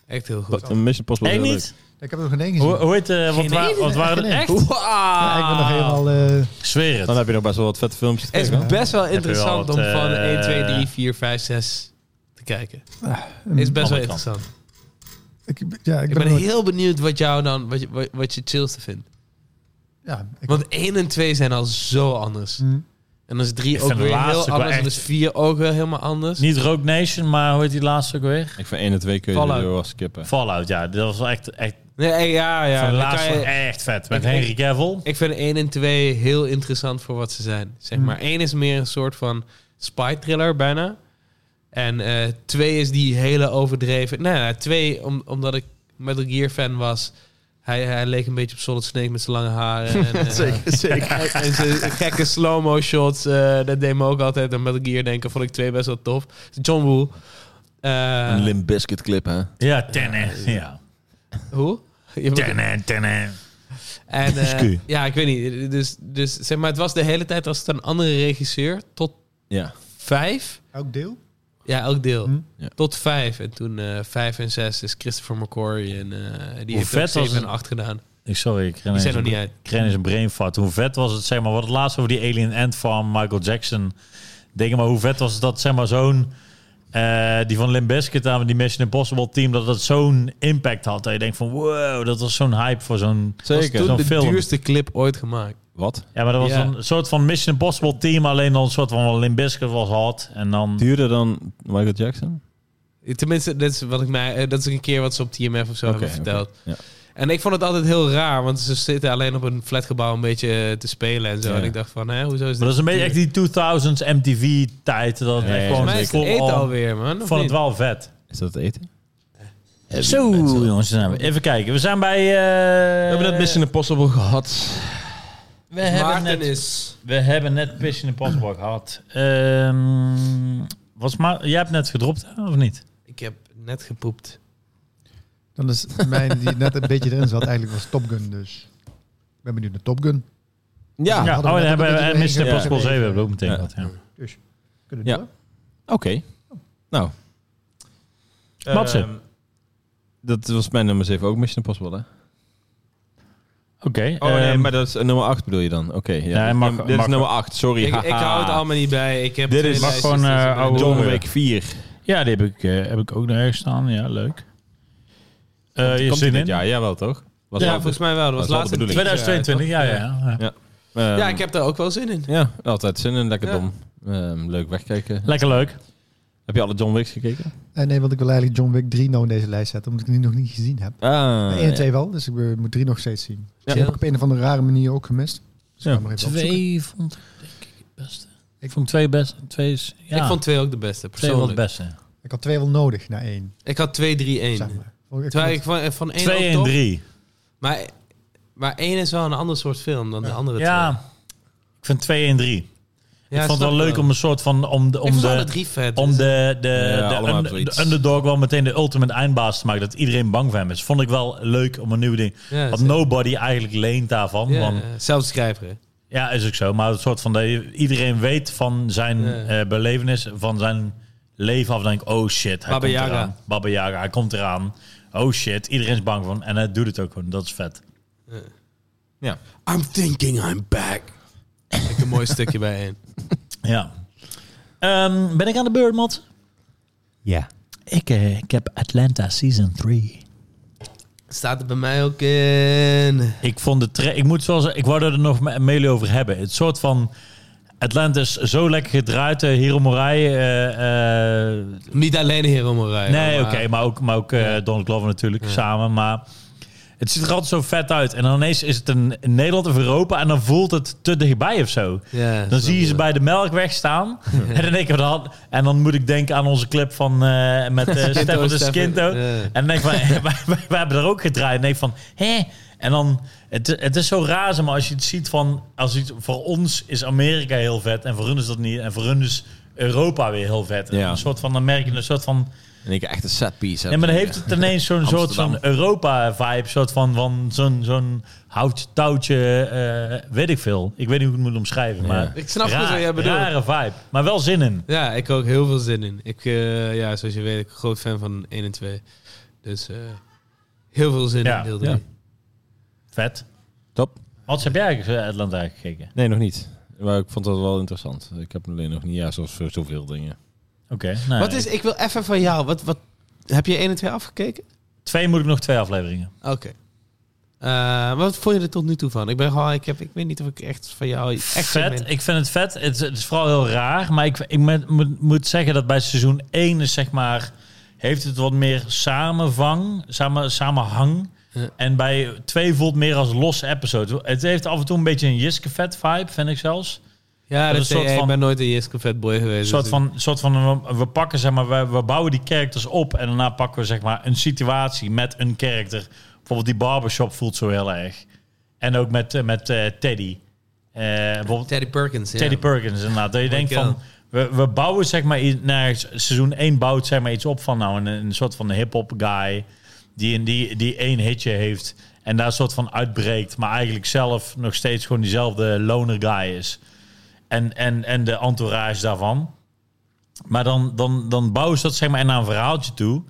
Speaker 1: Echt heel goed.
Speaker 3: Een Mission Impossible.
Speaker 2: Echt
Speaker 3: is heel
Speaker 2: niet?
Speaker 4: Ik heb er nog geen één gezien.
Speaker 2: Hoe, hoe heet... eh, wat,
Speaker 1: Geen
Speaker 2: wa-
Speaker 1: idee.
Speaker 2: wat waren
Speaker 4: Geen
Speaker 2: er echt?
Speaker 4: idee.
Speaker 1: Wow.
Speaker 4: Ja, ik ben nog helemaal... eh,
Speaker 2: Ik zweer
Speaker 3: leuk. Dan
Speaker 2: het.
Speaker 3: heb je nog best wel wat vette filmpjes.
Speaker 1: Het
Speaker 3: tegen.
Speaker 1: is best wel
Speaker 2: wel
Speaker 1: interessant
Speaker 2: wat,
Speaker 1: om van
Speaker 2: eh,
Speaker 1: 1, 2, 3, 4, 5, 6 te kijken. Het is best wel
Speaker 2: andere kant.
Speaker 1: interessant.
Speaker 4: ik, ja, Ah, ik
Speaker 1: Ik
Speaker 4: ben,
Speaker 1: ben
Speaker 4: er nog-
Speaker 1: heel benieuwd wat jou dan, wat je, wat- wat je het chillste vindt.
Speaker 4: Ja, ik,
Speaker 1: Want 1 en 2 zijn al zo anders.
Speaker 4: Hm.
Speaker 1: En dan is 3
Speaker 2: Ik
Speaker 1: ook
Speaker 2: vind de
Speaker 1: weer
Speaker 2: laatste
Speaker 1: heel
Speaker 2: ook wel
Speaker 1: anders. En dan
Speaker 2: echt-
Speaker 1: is 4 ook weer helemaal anders.
Speaker 2: Niet Rogue Nation, maar hoe heet die laatste ook weer?
Speaker 3: Ik vind 1 en 2 kun je
Speaker 1: Fallout.
Speaker 3: er wel skippen.
Speaker 2: Fallout, ja. Dat was wel echt, echt
Speaker 1: Nee, eh, ja, ja.
Speaker 2: van de
Speaker 1: dan
Speaker 2: laatste
Speaker 1: kan je-
Speaker 2: echt vet. Met
Speaker 1: Ik- ik-
Speaker 2: Henry Cavill.
Speaker 1: ik vind 1 en 2 heel interessant voor wat ze zijn. Zeg
Speaker 4: Hmm.
Speaker 1: maar, 1 is meer een soort van spy thriller bijna. En eh 2 is die hele overdreven. Nou ja, 2, om, omdat ik Metal Gear fan was. Hij, hij leek een beetje op Solid Snake met zijn lange haren. En, eh,
Speaker 4: zeker.
Speaker 1: en- en zijn gekke slow-mo shots. eh, dat deed me ook altijd aan Metal Gear denken. Vond ik 2 best wel tof. John Woo. Eh,
Speaker 3: Een Limp Biscuit clip, hè?
Speaker 2: Ja, tennen. Ja.
Speaker 1: hoe? Je-
Speaker 2: Tennen, tennen.
Speaker 1: En eh,
Speaker 3: Excuus.
Speaker 1: ja, ik weet niet. Dus, dus zeg maar, het was de hele tijd als het een andere regisseur tot
Speaker 3: Ja.
Speaker 1: vijf.
Speaker 4: Ook deel?
Speaker 1: Ja, elk deel.
Speaker 4: Hm.
Speaker 3: Ja.
Speaker 1: Tot vijf. En toen eh, vijf en zes is Christopher McQuarrie. En eh, die heeft
Speaker 2: vet
Speaker 1: ook
Speaker 2: was
Speaker 1: zeven en
Speaker 2: het?
Speaker 1: acht gedaan.
Speaker 2: Ik, sorry, ik kreeg
Speaker 1: Die
Speaker 2: ineens
Speaker 1: zijn nog
Speaker 2: een-
Speaker 1: niet uit.
Speaker 2: ik kreeg ineens een brain fart. Hoe vet was het, zeg maar, wat het laatst over die Alien Ant van Michael Jackson dingen, maar hoe vet was het dat, zeg maar, zo'n, eh, die van Limp Bizkit aan die Mission Impossible team, dat dat zo'n impact had. Dat je denkt van, wow, dat was zo'n hype voor zo'n,
Speaker 3: Zeker.
Speaker 1: was toen
Speaker 2: zo'n
Speaker 1: de
Speaker 2: film.
Speaker 1: duurste clip ooit gemaakt.
Speaker 3: Wat?
Speaker 2: Ja, maar dat was
Speaker 1: Ja.
Speaker 2: dan een soort van Mission Impossible team, alleen dan een soort van Limp Bizkit was hard. En dan,
Speaker 3: Duurder dan Michael Jackson?
Speaker 1: Tenminste, dat is, wat ik mij, eh, dat is een keer wat ze op TMF of zo
Speaker 3: Oké,
Speaker 1: hebben verteld.
Speaker 3: oké, ja.
Speaker 1: En ik vond het altijd heel raar, want ze zitten alleen op een flatgebouw een beetje eh, te spelen en zo.
Speaker 3: Ja.
Speaker 1: En ik dacht van, hè, hoezo is dit?
Speaker 2: maar dat is een beetje echt die 2000s MTV tijd, dat het
Speaker 3: Ja,
Speaker 2: echt
Speaker 3: ja,
Speaker 2: gewoon
Speaker 1: Volgens mij is het
Speaker 2: vol
Speaker 1: eten
Speaker 2: al-
Speaker 1: alweer, man. of
Speaker 2: vond het
Speaker 1: niet?
Speaker 2: wel vet.
Speaker 3: Is dat het eten?
Speaker 2: Zo, jongens. dan zijn we- Even kijken. We zijn bij... eh,
Speaker 3: We hebben net Mission Impossible gehad.
Speaker 2: We hebben,
Speaker 1: Maarten
Speaker 2: net,
Speaker 1: is...
Speaker 2: we hebben net Mission Impossible gehad. Ehm, was maar, jij hebt net gedropt, hè, of niet?
Speaker 1: Ik heb net gepoept.
Speaker 4: Dan is mijn die net een beetje erin zat eigenlijk was Top Gun dus. Ik ben benieuwd naar Top Gun.
Speaker 3: Ja,
Speaker 2: ja, oh,
Speaker 4: hadden we
Speaker 2: dan
Speaker 4: net
Speaker 2: hebben
Speaker 4: een
Speaker 2: we
Speaker 4: beetje
Speaker 2: en Mission
Speaker 3: doorheen
Speaker 2: Impossible
Speaker 4: gegeven.
Speaker 2: 7 hebben we ook meteen
Speaker 3: Ja.
Speaker 2: gehad. Ja.
Speaker 4: Kunnen we
Speaker 3: Ja.
Speaker 4: door?
Speaker 3: oké. Nou.
Speaker 2: Matze.
Speaker 3: Ehm, dat was mijn nummer 7 ook Mission Impossible, hè?
Speaker 2: Oké.
Speaker 3: Oh nee,
Speaker 2: ehm,
Speaker 3: maar dat is eh, nummer 8 bedoel je dan? Oké, ja.
Speaker 2: Ja, mag-
Speaker 3: dit is
Speaker 2: mag-
Speaker 3: nummer 8, sorry.
Speaker 1: Ik, ik
Speaker 3: haha.
Speaker 1: hou het allemaal niet bij. Ik heb
Speaker 3: Dit
Speaker 1: twee
Speaker 3: is-
Speaker 2: Mag
Speaker 1: lijstjes,
Speaker 2: gewoon,
Speaker 1: dus
Speaker 2: eh,
Speaker 1: ik ben-
Speaker 2: oude-
Speaker 3: John Wick 4.
Speaker 2: ja, die heb ik, eh, heb ik ook nog ergens staan. Ja, leuk. Eh, je
Speaker 3: Komt
Speaker 2: zin in?
Speaker 3: Ja, jawel toch? Was
Speaker 1: Ja,
Speaker 3: al-
Speaker 1: volgens mij wel. Dat was
Speaker 3: Dat is wel
Speaker 1: laatst
Speaker 3: de
Speaker 1: in
Speaker 2: 2022, ja, ja.
Speaker 1: teaser,
Speaker 2: ja.
Speaker 3: Ehm,
Speaker 1: Ja, ik heb daar ook wel zin in.
Speaker 3: Ja, altijd zin in. Lekker
Speaker 1: Ja.
Speaker 3: dom. Ehm, leuk wegkijken.
Speaker 2: Lekker leuk.
Speaker 3: Heb je alle John Wicks gekeken?
Speaker 4: Eh, nee, want ik wil eigenlijk John Wick 3 nou in deze lijst zetten, omdat ik die nog niet gezien heb.
Speaker 3: Ah,
Speaker 4: 1 en 2 wel, dus ik eh, moet 3 nog steeds zien.
Speaker 3: Ja.
Speaker 4: Die heb ik op een of andere rare manier ook gemist. Dus ik
Speaker 3: Ja.
Speaker 4: ga maar even opzoeken.
Speaker 2: Twee vond ik denk ik het beste. Ik vond twee best. Twee is, ja,
Speaker 1: Ik vond twee ook de beste,
Speaker 2: twee wel het
Speaker 1: persoonlijk.
Speaker 2: beste.
Speaker 4: Ik had twee wel nodig na één.
Speaker 1: Ik had 2, 3, 1.
Speaker 4: Zeg maar. Vond ik-
Speaker 1: Terwijl ik van, eh, van 1
Speaker 2: Twee en drie.
Speaker 1: Maar, maar 1 is wel een ander soort film dan de andere
Speaker 2: Ja,
Speaker 1: twee.
Speaker 2: ik vind 2 en 3. ik vond het wel
Speaker 1: snap
Speaker 2: leuk
Speaker 1: ik
Speaker 2: om een soort van om de,
Speaker 1: ik
Speaker 2: om
Speaker 1: vond alle
Speaker 2: de,
Speaker 1: drie vet. dus-
Speaker 2: om de, de,
Speaker 3: Ja,
Speaker 2: de
Speaker 3: allemaal
Speaker 2: un-
Speaker 3: zoiets.
Speaker 2: de underdog wel meteen de ultimate eindbaas te maken. Dat iedereen bang voor hem is. Vond ik wel leuk om een nieuw ding.
Speaker 1: Ja,
Speaker 2: Want
Speaker 1: zeker.
Speaker 2: nobody eigenlijk leent daarvan.
Speaker 1: Ja,
Speaker 2: want,
Speaker 1: ja, zelfs schrijver. hè.
Speaker 2: ja, is ook zo. Maar het soort van dat je- iedereen weet van zijn
Speaker 1: Ja.
Speaker 2: eh, belevenis, van zijn leven af. Dan denk ik, oh shit, hij
Speaker 1: Baba
Speaker 2: komt
Speaker 1: Yaga.
Speaker 2: eraan. Baba Yaga, hij komt eraan. Oh shit, iedereen is bang voor hem. En hij doet het ook gewoon. Dat is vet.
Speaker 1: I'm thinking I'm back. Ik een mooi stukje bij één.
Speaker 2: Ja. Ehm, ben ik aan de beurt, Mats?
Speaker 3: Ja.
Speaker 2: Ik, eh, ik heb Atlanta Season 3.
Speaker 1: Staat er bij mij ook in.
Speaker 2: Ik vond de tra- ik moet zoals ik wou er nog me- met jullie over hebben. Het soort van Atlanta is zo lekker gedraaid. eh, Hiro Morai. eh, eh,
Speaker 1: Niet alleen Hero Morai.
Speaker 2: nee,
Speaker 1: maar-
Speaker 2: oké, maar ook, maar ook eh, Donald Glover natuurlijk samen. Maar het ziet er altijd zo vet uit. En dan ineens is het een, in Nederland of Europa en dan voelt het te dichtbij of zo.
Speaker 1: Ja,
Speaker 2: Dan
Speaker 1: snap
Speaker 2: zie je ze
Speaker 1: ik.
Speaker 2: bij de melkweg staan. en, dan denk ik, dan, en dan moet ik denken aan onze clip van, eh, met eh Stefan de
Speaker 1: Stefan,
Speaker 2: Skinto.
Speaker 1: ja.
Speaker 2: En dan denk ik, van, wij, wij, wij hebben daar ook gedraaid. En denk ik van, hè? En dan, het, het is zo raar, maar als je het ziet van... Als je het- voor ons is Amerika heel vet en voor hun is dat niet. En voor hun is Europa weer heel vet.
Speaker 3: Ja.
Speaker 2: Een soort van, dan merk je een soort van...
Speaker 3: En ik echt een set piece.
Speaker 2: Nee, maar dan heeft het ineens zo'n soort
Speaker 3: Amsterdam.
Speaker 2: van Europa-vibe. soort van, van zo'n zo'n hout touwtje, eh, weet ik veel. Ik weet niet hoe ik het moet omschrijven, maar...
Speaker 1: Ik snap goed wat jij bedoelt.
Speaker 2: Rare vibe, maar wel zin in.
Speaker 1: Ja, ik heb ook heel veel zin in. Ik, eh, ja, zoals je weet, ik ben groot fan van 1 en 2. Dus eh, heel veel zin
Speaker 2: Ja,
Speaker 1: in deel 3.
Speaker 3: ja.
Speaker 2: Vet.
Speaker 3: Top.
Speaker 2: Wat heb jij eigenlijk eh, Atlanta gekeken?
Speaker 3: Nee, nog niet. Maar ik vond dat wel interessant. Ik heb hem alleen nog niet. Ja, zoals voor zoveel dingen.
Speaker 2: Oké. nou,
Speaker 1: Wat is, ik wil even van jou, wat, wat, heb je 1 en 2 afgekeken?
Speaker 2: Twee moet ik nog twee afleveringen.
Speaker 1: Oké. Eh, wat vond je er tot nu toe van? Ik ben gewoon, ik, heb, ik weet niet of ik echt van jou echt zin
Speaker 2: vet.
Speaker 1: ben.
Speaker 2: Ik vind het vet. Het is, het is vooral heel raar. Maar ik, ik moet- moet, moet zeggen dat bij seizoen 1 is zeg maar... Heeft het wat meer samenvang, samen, samenhang.
Speaker 1: Ja.
Speaker 2: En bij 2 voelt meer als los episode. Het heeft af en toe een beetje een Jiske vet vibe, vind ik zelfs.
Speaker 1: Ja,
Speaker 2: Dat
Speaker 1: dat
Speaker 2: is een soort
Speaker 1: eh, ik
Speaker 2: van-
Speaker 1: ben nooit een Jiske Fatboy geweest.
Speaker 2: Een soort
Speaker 1: dus
Speaker 2: van, soort van we, we pakken zeg maar, we, we bouwen die characters op en daarna pakken we zeg maar een situatie met een character. Bijvoorbeeld die barbershop voelt zo heel erg. En ook met, eh, met eh, Teddy. Eh, bijvoorbeeld
Speaker 1: ik- Teddy Perkins, ja.
Speaker 2: Teddy Perkins inderdaad. Dat je denkt
Speaker 1: God.
Speaker 2: van, we, we bouwen zeg maar, i- naar s- seizoen 1 bouwt zeg maar iets op van nou een, een soort van hip-hop guy die, een- die, die één hitje heeft en daar een soort van uitbreekt, maar eigenlijk zelf nog steeds gewoon diezelfde loner guy is. En, en, en de entourage daarvan. Maar dan, dan, dan bouwen ze dat zeg maar en naar een verhaaltje toe.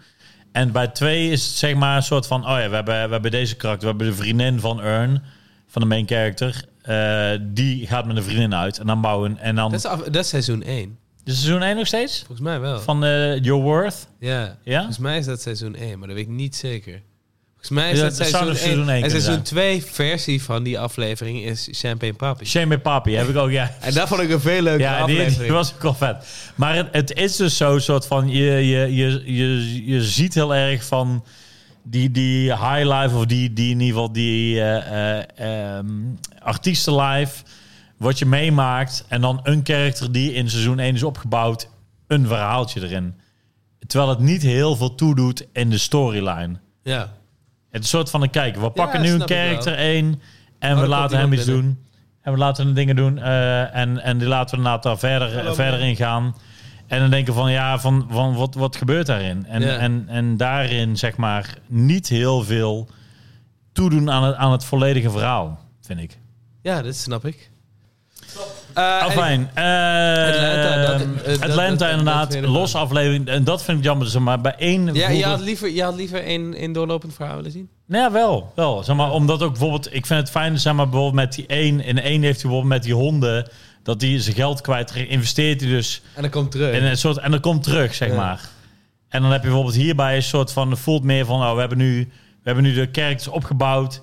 Speaker 2: En bij twee is het zeg maar een soort van... Oh ja, we hebben, we hebben deze karakter. We hebben de vriendin van Earn, van de main character. eh, die gaat met een vriendin uit. En dan bouwen... En dan,
Speaker 1: Dat
Speaker 2: is
Speaker 1: is, af- dat is seizoen 1.
Speaker 2: seizoen 1 nog steeds?
Speaker 1: Volgens mij wel.
Speaker 2: Van eh, Your Worth?
Speaker 1: ja.
Speaker 2: Ja?
Speaker 1: Volgens mij is dat seizoen 1, maar dat weet ik niet zeker. Volgens mij is
Speaker 2: Ja,
Speaker 1: dat,
Speaker 2: dat zou
Speaker 1: seizoen,
Speaker 2: dus seizoen
Speaker 1: 1.
Speaker 2: één
Speaker 1: En
Speaker 2: kunnen
Speaker 1: seizoen 2 versie van die aflevering is Champagne Papi.
Speaker 2: Shame and Papi heb ik ook, ja.
Speaker 1: En dat vond ik een veel leuke
Speaker 2: Ja, die,
Speaker 1: aflevering.
Speaker 2: die was ook wel vet. Maar het, het is dus zo'n soort van... Je, je, je, je, je ziet heel erg van... Die, die high life of die, die in ieder geval die eh, eh, ehm, artiestenlife... Wat je meemaakt. En dan een karakter die in seizoen 1 is opgebouwd. Een verhaaltje erin. Terwijl het niet heel veel toedoet in de storyline.
Speaker 1: Ja.
Speaker 2: Het is een soort van een kijken. We pakken
Speaker 1: Ja,
Speaker 2: nu een
Speaker 1: snap ik wel.
Speaker 2: karakter 1 en
Speaker 1: Oh,
Speaker 2: we
Speaker 1: er komt
Speaker 2: laten hem iets
Speaker 1: iemand binnen.
Speaker 2: doen. En we laten hem dingen doen. eh, en, en die laten we inderdaad daar verder,
Speaker 1: Hallo,
Speaker 2: verder
Speaker 1: man.
Speaker 2: in gaan. En dan denken van ja, van, van wat, wat gebeurt daarin? En,
Speaker 1: Ja.
Speaker 2: en, en daarin zeg maar niet heel veel toedoen aan het, aan het volledige verhaal, vind ik.
Speaker 1: ja, dat snap ik. Eh, en-
Speaker 2: Afijn. eh,
Speaker 1: Atlanta, dat- eh, dat-
Speaker 2: Atlanta
Speaker 1: dat- dat-
Speaker 2: inderdaad,
Speaker 1: dat vind ik
Speaker 2: los aflevering. En dat vind ik jammer. Zeg maar bij één.
Speaker 1: ja, je
Speaker 2: bijvoorbeeld-
Speaker 1: had liever, je had liever een, een doorlopend verhaal willen zien.
Speaker 2: Nou ja, wel. wel. Zeg maar, omdat ook bijvoorbeeld, ik vind het fijn, zeg maar, bijvoorbeeld met die één. In één heeft hij bijvoorbeeld met die honden, dat hij zijn geld kwijt investeert hij dus
Speaker 1: En dan komt terug.
Speaker 2: in een soort, en dat komt terug, zeg
Speaker 1: Ja.
Speaker 2: maar. En dan heb je bijvoorbeeld hierbij een soort van, voelt meer van, oh, we hebben nu, we hebben nu de kerkers opgebouwd.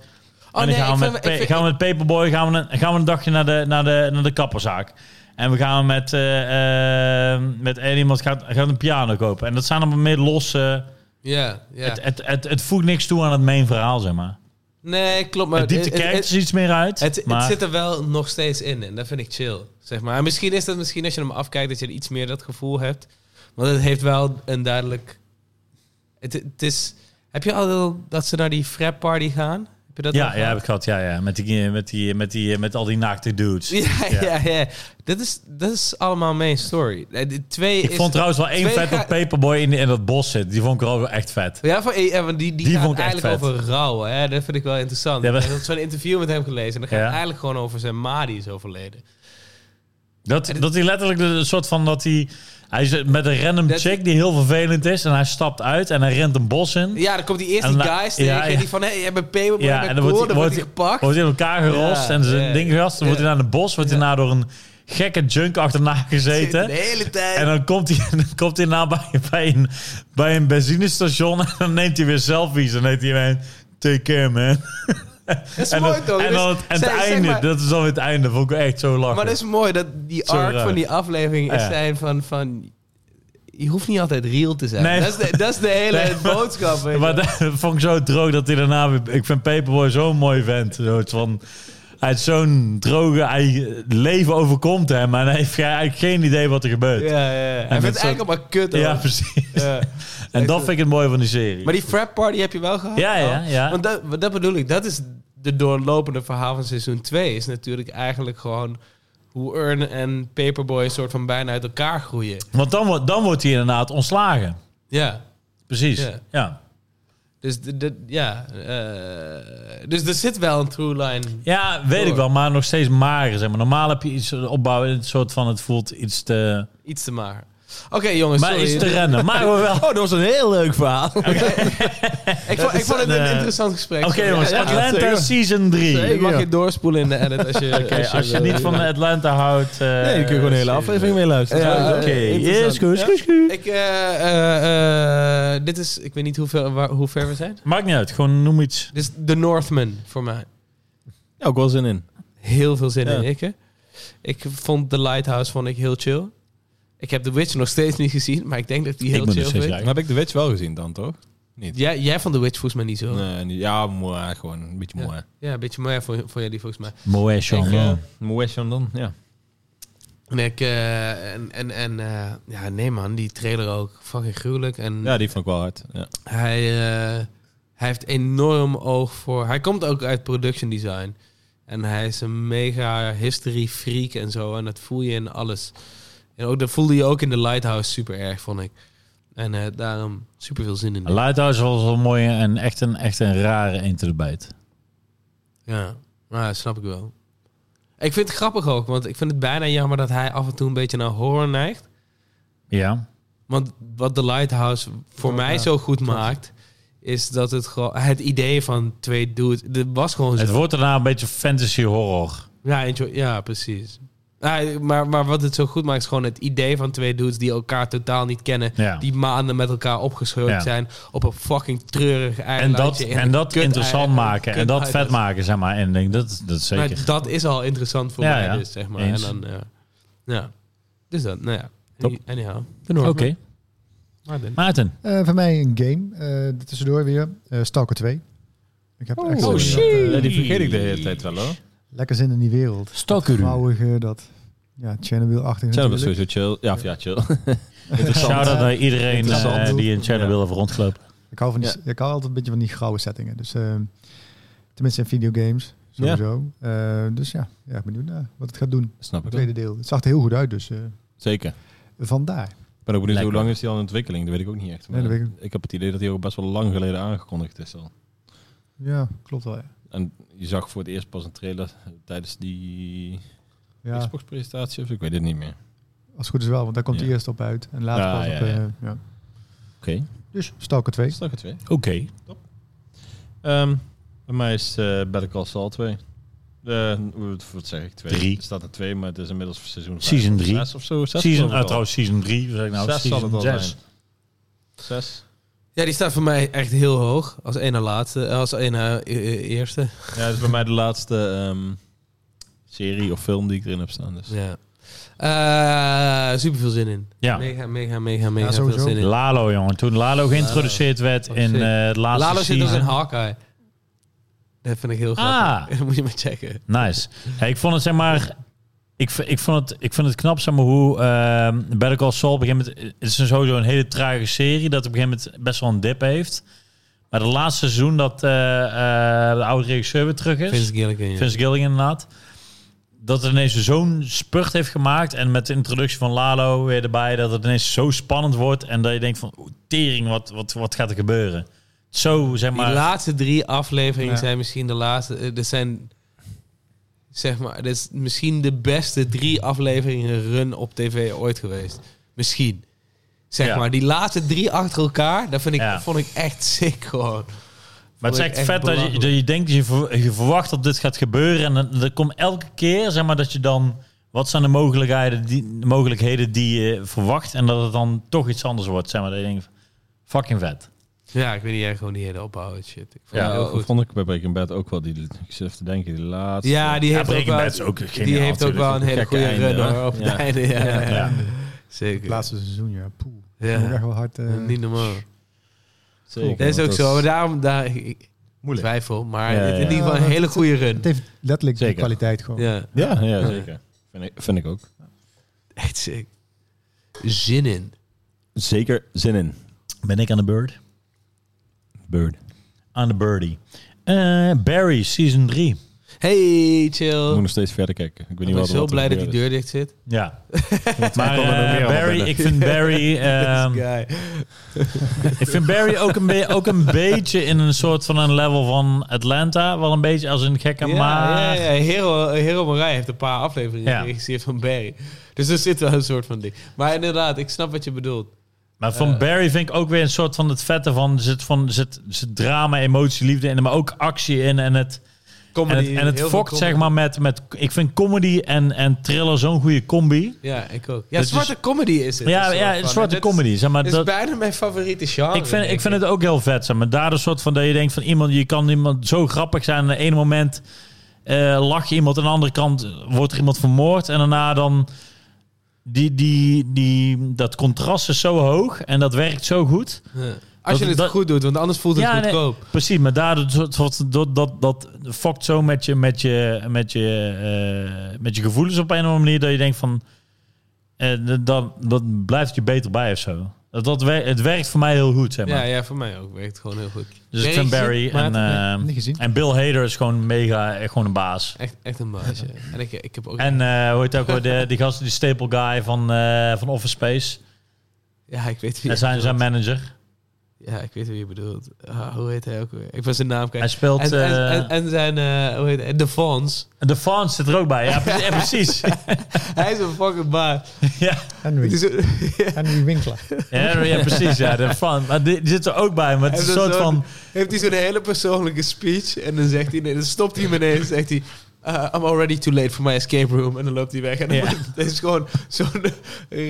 Speaker 1: Oh,
Speaker 2: en dan
Speaker 1: nee,
Speaker 2: gaan,
Speaker 1: ik
Speaker 2: we
Speaker 1: vind-
Speaker 2: met,
Speaker 1: ik
Speaker 2: pa-
Speaker 1: vind-
Speaker 2: gaan we met Paperboy gaan we een, gaan we een dagje naar de, naar, de, naar de kapperzaak. En we gaan met, eh, eh, met en iemand gaat, gaat een piano kopen. En dat zijn allemaal meer losse...
Speaker 1: ja, ja.
Speaker 2: Het, het, het, het voegt niks toe aan het main verhaal, zeg maar.
Speaker 1: nee, klopt. Maar
Speaker 2: Het diept de
Speaker 1: het- het-
Speaker 2: characters iets meer uit.
Speaker 1: Het, het
Speaker 2: maar
Speaker 1: zit er wel nog steeds in en dat vind ik chill. Zeg maar. En misschien is dat misschien als je hem afkijkt dat je er iets meer dat gevoel hebt. Want het heeft wel een duidelijk. Het, het is. Heb je al wel dat ze naar die frat party gaan? Heb je dat
Speaker 2: ja,
Speaker 1: al
Speaker 2: ja,
Speaker 1: gehad?
Speaker 2: heb ik gehad. Ja, ja. Met, die, eh, met, die, met, die, met al die naakte dudes.
Speaker 1: ja, ja, ja. Dat is, dat is allemaal mijn story. Eh, de Twee
Speaker 2: Ik
Speaker 1: is,
Speaker 2: vond trouwens wel één
Speaker 1: twee
Speaker 2: vet dat
Speaker 1: ga-
Speaker 2: Paperboy in, in dat bos zit. Die vond ik er ook wel echt vet.
Speaker 1: Ja, van, eh, ja, want die, die,
Speaker 2: Die
Speaker 1: gaat
Speaker 2: vond ik echt
Speaker 1: eigenlijk
Speaker 2: vet.
Speaker 1: over rouw. Hè? Dat vind ik wel interessant.
Speaker 2: Ja, maar-
Speaker 1: Ik heb zo'n interview met hem gelezen. En dan gaat
Speaker 2: Ja.
Speaker 1: het eigenlijk gewoon over zijn ma die is overleden.
Speaker 2: Dat, dat hij letterlijk de, de soort van dat hij... Hij is met een random
Speaker 1: Dat-
Speaker 2: chick die heel vervelend is. En hij stapt uit en hij rent een bos in.
Speaker 1: Ja, dan komt die eerst
Speaker 2: En
Speaker 1: die
Speaker 2: la-
Speaker 1: guys tegen.
Speaker 2: ja, ja.
Speaker 1: Die van, hé, hey, je bent Payboy,
Speaker 2: Ja,
Speaker 1: je
Speaker 2: en
Speaker 1: bent
Speaker 2: dan
Speaker 1: cool,
Speaker 2: wordt
Speaker 1: dan
Speaker 2: hij,
Speaker 1: wordt hij
Speaker 2: wordt, hij-
Speaker 1: gepakt.
Speaker 2: wordt hij in elkaar gerost
Speaker 1: Ja,
Speaker 2: en zijn
Speaker 1: ja,
Speaker 2: ding gast. Dan wordt
Speaker 1: ja.
Speaker 2: hij naar de bos, wordt hij na door een gekke junk achterna gezeten.
Speaker 1: De hele tijd.
Speaker 2: En dan komt hij, dan komt hij na bij, bij, een, bij een benzinestation en dan neemt hij weer selfies. Dan heet hij weer take care man.
Speaker 1: dat is
Speaker 2: En,
Speaker 1: mooi
Speaker 2: dan,
Speaker 1: toch?
Speaker 2: en
Speaker 1: Dus
Speaker 2: dan het, en het
Speaker 1: zij- zeg
Speaker 2: einde,
Speaker 1: maar-
Speaker 2: dat is dan weer het einde. Vond ik echt zo lachen.
Speaker 1: Maar dat is mooi dat die
Speaker 2: Zo
Speaker 1: arc
Speaker 2: raar.
Speaker 1: van die aflevering is
Speaker 2: Ja.
Speaker 1: zijn van, van... Je hoeft niet altijd real te zijn.
Speaker 2: Nee.
Speaker 1: Dat, is de, dat is de hele
Speaker 2: Nee, maar-
Speaker 1: boodschap. weet je.
Speaker 2: Maar dat vond ik zo droog dat hij daarna... weer- Ik vind Paperboy zo'n mooi vent. Zo het van, hij is zo'n droge... Hij, het leven overkomt hem en hij heeft eigenlijk geen idee wat er gebeurt. Ja,
Speaker 1: ja, ja. Hij
Speaker 2: met
Speaker 1: vindt het
Speaker 2: zo'n-
Speaker 1: eigenlijk allemaal kut. hoor.
Speaker 2: precies.
Speaker 1: Ja.
Speaker 2: En dat vind ik het mooie van die serie.
Speaker 1: Maar die frat party heb je wel gehad?
Speaker 2: Ja, ja,
Speaker 1: Oh.
Speaker 2: ja.
Speaker 1: Want dat, dat bedoel ik. Dat is de doorlopende verhaal van seizoen 2. Is natuurlijk eigenlijk gewoon hoe Earn en Paperboy een soort van bijna uit elkaar groeien.
Speaker 2: Want dan, wordt- dan wordt hij inderdaad ontslagen.
Speaker 1: Ja.
Speaker 2: Precies,
Speaker 1: Ja.
Speaker 2: ja.
Speaker 1: Dus, de, de- ja, eh, dus er zit wel een true line.
Speaker 2: Ja, weet
Speaker 1: Door.
Speaker 2: ik wel, maar nog steeds mager. Zeg maar. Normaal heb je iets opbouwen, een soort van het voelt iets te.
Speaker 1: Iets te maar. Oké, jongens.
Speaker 2: maar
Speaker 1: sorry.
Speaker 2: iets te rennen. Maar we wel.
Speaker 3: Oh, dat was een heel leuk verhaal.
Speaker 1: ik, vond, ik vond het
Speaker 2: een,
Speaker 1: een
Speaker 2: eh,
Speaker 1: interessant gesprek.
Speaker 2: Oké, jongens,
Speaker 1: Ja, ja.
Speaker 2: Atlanta
Speaker 3: zeker.
Speaker 2: Season 3.
Speaker 1: Je mag je doorspoelen in de edit als je...
Speaker 2: Oké, als je niet van Atlanta houdt. eh,
Speaker 3: Nee, je kunt gewoon een hele
Speaker 2: season
Speaker 3: aflevering mee luisteren.
Speaker 1: Ja,
Speaker 2: Oké,
Speaker 1: interessant.
Speaker 2: yes, goed, goed, goed.
Speaker 1: Ik, eh, eh, eh, dit is... Ik weet niet hoe ver, waar- hoe ver we zijn.
Speaker 2: Maakt niet uit, gewoon noem iets.
Speaker 1: Dit is The Northman voor mij.
Speaker 3: Ja, ook wel zin in.
Speaker 1: Heel veel zin
Speaker 3: Ja.
Speaker 1: in, ik. hè. Ik vond The Lighthouse vond ik heel chill. Ik heb The Witch nog steeds niet gezien, maar ik denk dat ik die
Speaker 2: Ik
Speaker 1: heel
Speaker 2: moet nog
Speaker 1: chill
Speaker 2: steeds
Speaker 1: vind.
Speaker 2: kijken.
Speaker 3: heb ik de Witch wel gezien dan, toch? Niet.
Speaker 1: Jij, jij vond The Witch volgens mij niet zo.
Speaker 3: Nee, niet- ja, mooi, gewoon een beetje mooi.
Speaker 1: Ja, een beetje mooi voor, voor jullie volgens mij.
Speaker 2: Moe
Speaker 1: Ik,
Speaker 3: Ja.
Speaker 2: Jean.
Speaker 3: Mooi is dan dan, ja.
Speaker 1: En, ik, eh, en, en, en eh, ja, nee man, die trailer ook fucking gruwelijk. En
Speaker 3: Ja, die vond ik wel hard. Ja.
Speaker 1: hij, eh, hij heeft enorm oog voor... Hij komt ook uit production design. En hij is een mega history freak en zo. En dat voel je in alles. En ook, dat voelde je ook in The Lighthouse super erg, vond ik. En eh, daarom super veel zin in.
Speaker 2: Lighthouse was wel mooi en echt een, echt een rare een te de bijt.
Speaker 1: Ja, nou, dat snap ik wel. Ik vind het grappig ook, want ik vind het bijna jammer dat hij af en toe een beetje naar horror neigt.
Speaker 2: Ja.
Speaker 1: Want wat The Lighthouse voor
Speaker 4: Ja,
Speaker 1: mij
Speaker 4: ja,
Speaker 1: zo goed
Speaker 4: klopt.
Speaker 1: maakt, is dat het gewoon het idee van twee dudes. Het was gewoon
Speaker 2: Het
Speaker 1: zo.
Speaker 2: wordt daarna een beetje fantasy horror.
Speaker 1: Ja, enjoy- ja precies. Ja, maar, maar wat het zo goed maakt, is gewoon het idee van twee dudes die elkaar totaal niet kennen.
Speaker 2: Ja.
Speaker 1: Die maanden met elkaar opgeschreven
Speaker 2: Ja.
Speaker 1: zijn op een fucking treurig
Speaker 2: En
Speaker 1: eilandje.
Speaker 2: dat,
Speaker 1: in
Speaker 2: en
Speaker 1: een
Speaker 2: dat
Speaker 1: kut
Speaker 2: interessant
Speaker 1: eiland-
Speaker 2: maken en
Speaker 1: kut
Speaker 2: dat
Speaker 1: eiland.
Speaker 2: vet maken, zeg maar. En ik denk dat, dat
Speaker 1: Maar
Speaker 2: zeker.
Speaker 1: dat is al interessant voor
Speaker 2: Ja,
Speaker 1: mij,
Speaker 2: ja.
Speaker 1: dus, zeg maar.
Speaker 2: Eens.
Speaker 1: En dan, ja. ja. Dus dat, nou ja.
Speaker 2: Top.
Speaker 1: Anyhow.
Speaker 2: Oké,
Speaker 1: Martin.
Speaker 2: Maarten.
Speaker 4: Eh, voor mij een game. eh tussendoor weer. eh, Stalker 2. Ik heb echt zin
Speaker 3: oh,
Speaker 4: in dat, eh,
Speaker 3: Ja, die vergeet ik de hele tijd wel hoor.
Speaker 4: lekker zin in die wereld.
Speaker 2: Stalker.
Speaker 4: Mouwige, dat... Ja, Chernobyl-achtig
Speaker 3: Chernobyl
Speaker 4: natuurlijk.
Speaker 3: is sowieso chill. Ja, of ja, chill.
Speaker 2: Shout out naar iedereen
Speaker 3: Interessant.
Speaker 2: eh, die in Chernobyl heeft rondgelopen.
Speaker 4: Ik hou, van die, ik hou altijd een beetje van die grauwe settingen. Dus, eh, tenminste in videogames, sowieso. Eh, dus ja, ja, ik ben benieuwd naar wat het gaat doen.
Speaker 3: Snap ik
Speaker 4: Het
Speaker 3: wel.
Speaker 4: tweede deel. Het zag er heel goed uit, dus eh,
Speaker 3: Zeker.
Speaker 4: vandaar.
Speaker 3: Ik ben ook benieuwd hoe
Speaker 2: Lekker.
Speaker 3: lang is die al in ontwikkeling. Dat weet ik ook niet echt.
Speaker 4: Nee, dat
Speaker 3: Maar
Speaker 4: weet ik-
Speaker 3: ik heb het idee dat die ook best wel lang geleden aangekondigd is al.
Speaker 4: Ja, klopt wel. Ja.
Speaker 3: En je zag voor het eerst pas een trailer tijdens die
Speaker 4: Ja,
Speaker 3: Xbox-presentatie of zo. Ik weet het niet meer.
Speaker 4: als het goed is wel, want daar komt
Speaker 3: Ja.
Speaker 4: hij eerst op uit. En later
Speaker 3: Ja,
Speaker 4: pas
Speaker 3: ja,
Speaker 4: op... eh,
Speaker 3: ja.
Speaker 4: ja.
Speaker 3: Oké.
Speaker 4: Dus Stalker 2.
Speaker 3: Stak het twee.
Speaker 2: Oké.
Speaker 3: Ehm, bij mij is eh Better Call Saul 2. Eh, wat- wat zeg ik? Twee.
Speaker 2: Drie.
Speaker 3: Het staat er twee, maar het is inmiddels seizoen vijf
Speaker 2: Season
Speaker 3: of
Speaker 2: drie.
Speaker 3: Zes of zo. Zes
Speaker 2: Season,
Speaker 3: geloof ik
Speaker 2: uh,
Speaker 3: al.
Speaker 2: trouwens, season 3. Zeg ik nou,
Speaker 3: Zes zal het
Speaker 2: season
Speaker 3: wel
Speaker 2: 6.
Speaker 3: zijn. Zes.
Speaker 1: Ja, die staat voor mij echt heel hoog. Als één na laatste, eh, als één na eh, eh, eerste.
Speaker 3: Ja, dat is bij mij de laatste ehm, serie of film die ik erin heb staan. Dus.
Speaker 1: Ja. Eh, super veel zin in.
Speaker 2: Ja.
Speaker 1: Mega, mega, mega, mega veel
Speaker 4: sowieso.
Speaker 1: zin in.
Speaker 2: Lalo, jongen. Toen Lalo geïntroduceerd werd
Speaker 1: Oh,
Speaker 2: in
Speaker 1: shit.
Speaker 2: eh het laatste
Speaker 1: Lalo zit ook in
Speaker 2: season.
Speaker 1: Hawkeye. Dat vind ik heel grappig.
Speaker 2: Ah.
Speaker 1: Dat moet je maar checken.
Speaker 2: Nice. Ja, ik vond het zeg maar. Ik, v- ik, vond het, ik vond het knap, zeg maar, hoe ehm Better Call Saul op een gegeven moment... eh, Het is een- sowieso een hele trage serie dat op een gegeven moment best wel een dip heeft. Maar het laatste seizoen dat eh, eh, de oude regisseur weer terug is...
Speaker 1: Vince Gilligan. ja.
Speaker 2: Vince Gilligan inderdaad. Dat het ineens zo'n spurt heeft gemaakt. En met de introductie van Lalo weer erbij. Dat het ineens zo spannend wordt. En dat je denkt van... oeh, Tering, wat, wat, wat gaat er gebeuren? Zo, zeg maar...
Speaker 1: Die laatste drie afleveringen
Speaker 4: Ja.
Speaker 1: zijn misschien de laatste. eh, Dit zijn, zeg maar, dit is misschien de beste drie afleveringen run op tv ooit geweest. Misschien. Zeg
Speaker 2: Ja.
Speaker 1: maar, die laatste drie achter elkaar, dat vind ik,
Speaker 2: Ja.
Speaker 1: vond ik echt sick gewoon.
Speaker 2: Maar het is echt
Speaker 1: Vond ik
Speaker 2: vet
Speaker 1: echt
Speaker 2: dat je,
Speaker 1: belachelijk.
Speaker 2: dat je denkt, je, ver- je verwacht dat dit gaat gebeuren. En dan, dan komt elke keer, zeg maar, dat je dan... Wat zijn de mogelijkheden die, de mogelijkheden die je verwacht? En dat het dan toch iets anders wordt, zeg maar. Dat je denkt, fucking vet.
Speaker 1: Ja, ik weet niet, jij gewoon die hele opbouw en shit. Ik
Speaker 3: Ja,
Speaker 1: vond het heel
Speaker 3: dat
Speaker 1: goed.
Speaker 3: vond ik bij Breaking Bad ook wel. Die, ik zit even te denken, die laatste.
Speaker 1: Ja, die
Speaker 2: Ja,
Speaker 1: heeft ook
Speaker 2: Breaking Bad is
Speaker 1: wel,
Speaker 2: ook geniaal
Speaker 1: die heeft ook
Speaker 2: natuurlijk.
Speaker 1: wel een hele
Speaker 3: Gekke
Speaker 1: goede
Speaker 3: einde,
Speaker 1: run
Speaker 3: hè?
Speaker 1: hoor. Op het
Speaker 3: Ja.
Speaker 1: einde, ja, ja, ja.
Speaker 2: Ja.
Speaker 4: Het
Speaker 1: Zeker.
Speaker 4: laatste seizoen, ja. Poeh.
Speaker 1: Ja.
Speaker 4: Dat moet echt wel hard... eh,
Speaker 1: Niet normaal.
Speaker 3: Zeker,
Speaker 1: Dat is
Speaker 3: want
Speaker 1: ook zo. Daarom daar, ik
Speaker 3: Moeilijk.
Speaker 1: twijfel, maar
Speaker 3: Ja,
Speaker 1: dit
Speaker 3: ja,
Speaker 1: in ieder
Speaker 4: ja.
Speaker 1: geval een hele goede run.
Speaker 4: Het heeft letterlijk de
Speaker 3: Zeker.
Speaker 4: kwaliteit gewoon.
Speaker 1: Ja.
Speaker 3: Ja, ja zeker. Vind ik, vind ik ook.
Speaker 1: Echt sick. Zin in.
Speaker 3: Zeker zin in.
Speaker 2: Ben ik aan de beurt?
Speaker 3: Bird.
Speaker 2: Aan de birdie. Eh, Barry, season 3.
Speaker 1: Hey,
Speaker 3: Ik moet
Speaker 1: chill.
Speaker 3: nog steeds verder kijken. Ik ben
Speaker 1: Ik
Speaker 3: niet wel
Speaker 1: ben zo blij dat die deur dicht zit.
Speaker 2: Ja. maar
Speaker 3: komen er
Speaker 2: eh,
Speaker 3: nog meer
Speaker 2: Barry,
Speaker 3: binnen.
Speaker 2: ik vind Barry... ehm,
Speaker 1: Guy.
Speaker 2: Ik vind Barry ook een, be- ook een beetje in een soort van een level van Atlanta. Wel een beetje als een gekke,
Speaker 1: Ja,
Speaker 2: maar...
Speaker 1: ja, ja. Hero, Hero Morai heeft een paar afleveringen
Speaker 2: Ja.
Speaker 1: geregisseerd van Barry. Dus er zit wel een soort van ding. Maar inderdaad, ik snap wat je bedoelt.
Speaker 2: Maar van
Speaker 1: Eh.
Speaker 2: Barry vind ik ook weer een soort van het vette van... Er zit, van, er zit, er zit drama, emotie, liefde in, maar ook actie in. En het, en het,
Speaker 1: Comedy,
Speaker 2: en het
Speaker 1: heel veel
Speaker 2: fokt
Speaker 1: comedy.
Speaker 2: zeg maar met, met... Ik vind comedy en, en thriller zo'n goede combi.
Speaker 1: Ja, ik ook. Ja,
Speaker 2: Dus-
Speaker 1: zwarte comedy is het.
Speaker 2: Ja,
Speaker 1: Een
Speaker 2: ja,
Speaker 1: soort van.
Speaker 2: zwarte
Speaker 1: En dit is-
Speaker 2: comedy. Zeg maar,
Speaker 1: Dit is
Speaker 2: dat,
Speaker 1: bijna mijn favoriete genre.
Speaker 2: ik, vind,
Speaker 1: denk
Speaker 2: ik vind het ook heel vet. Zeg maar. Daar een soort van dat je denkt van iemand... Je kan iemand zo grappig zijn. En aan de ene moment eh lach je iemand. Aan de andere kant wordt er iemand vermoord. En daarna dan... Die, die, die, dat contrast is zo hoog. En dat werkt zo goed.
Speaker 1: Ja. Als je
Speaker 2: Dat-
Speaker 1: het
Speaker 2: dat-
Speaker 1: goed doet, want anders voelt het
Speaker 2: Ja, nee.
Speaker 1: goedkoop.
Speaker 2: Precies, maar daardoor soort- soort- dat, dat, dat fokt zo met je, met, je, met, je, eh, met je gevoelens op een of andere manier dat je denkt van eh, dat- dat, dat blijft je beter bij of zo. Dat, dat wer- het werkt voor mij heel goed, zeg maar.
Speaker 1: Ja, ja, voor mij ook. Werkt gewoon heel goed.
Speaker 2: dus ik vind Barry en,
Speaker 1: Maarten,
Speaker 2: eh,
Speaker 4: Niet gezien.
Speaker 2: en Bill Hader is gewoon mega, echt gewoon een baas.
Speaker 1: Echt, echt een baas. ja. En ik, ik heb ook...
Speaker 2: eh, En eh hoe heet het ook weer, de, die gast, die staple guy van, eh, van Office Space.
Speaker 1: ja, ik weet wie
Speaker 2: En zijn,
Speaker 1: je bedoelt.
Speaker 2: zijn manager.
Speaker 1: Ja, ik weet wie je bedoelt. Ah, hoe heet hij ook weer? Ik was zijn naam
Speaker 2: Hij
Speaker 1: kwijt.
Speaker 2: speelt...
Speaker 1: En, en,
Speaker 2: eh,
Speaker 1: en, en zijn, eh, hoe heet hij? De Fons.
Speaker 2: de Fans zit er ook bij. Ja, pre- ja, precies.
Speaker 1: Hij is een fucking baas.
Speaker 2: ja.
Speaker 4: Henry.
Speaker 1: Dus, eh,
Speaker 4: Henry Winkler.
Speaker 2: Ja, ja, precies. Ja, de Fans. Maar die, die zit er ook bij. Maar het is een
Speaker 1: En dan
Speaker 2: soort
Speaker 1: zo-
Speaker 2: van...
Speaker 1: Heeft hij zo'n hele persoonlijke speech en dan zegt hij, nee, dan stopt hij meteen en zegt hij, eh, I'm already too late for my escape room. En dan loopt hij weg. En dan
Speaker 2: Ja.
Speaker 1: wordt- het is gewoon zo'n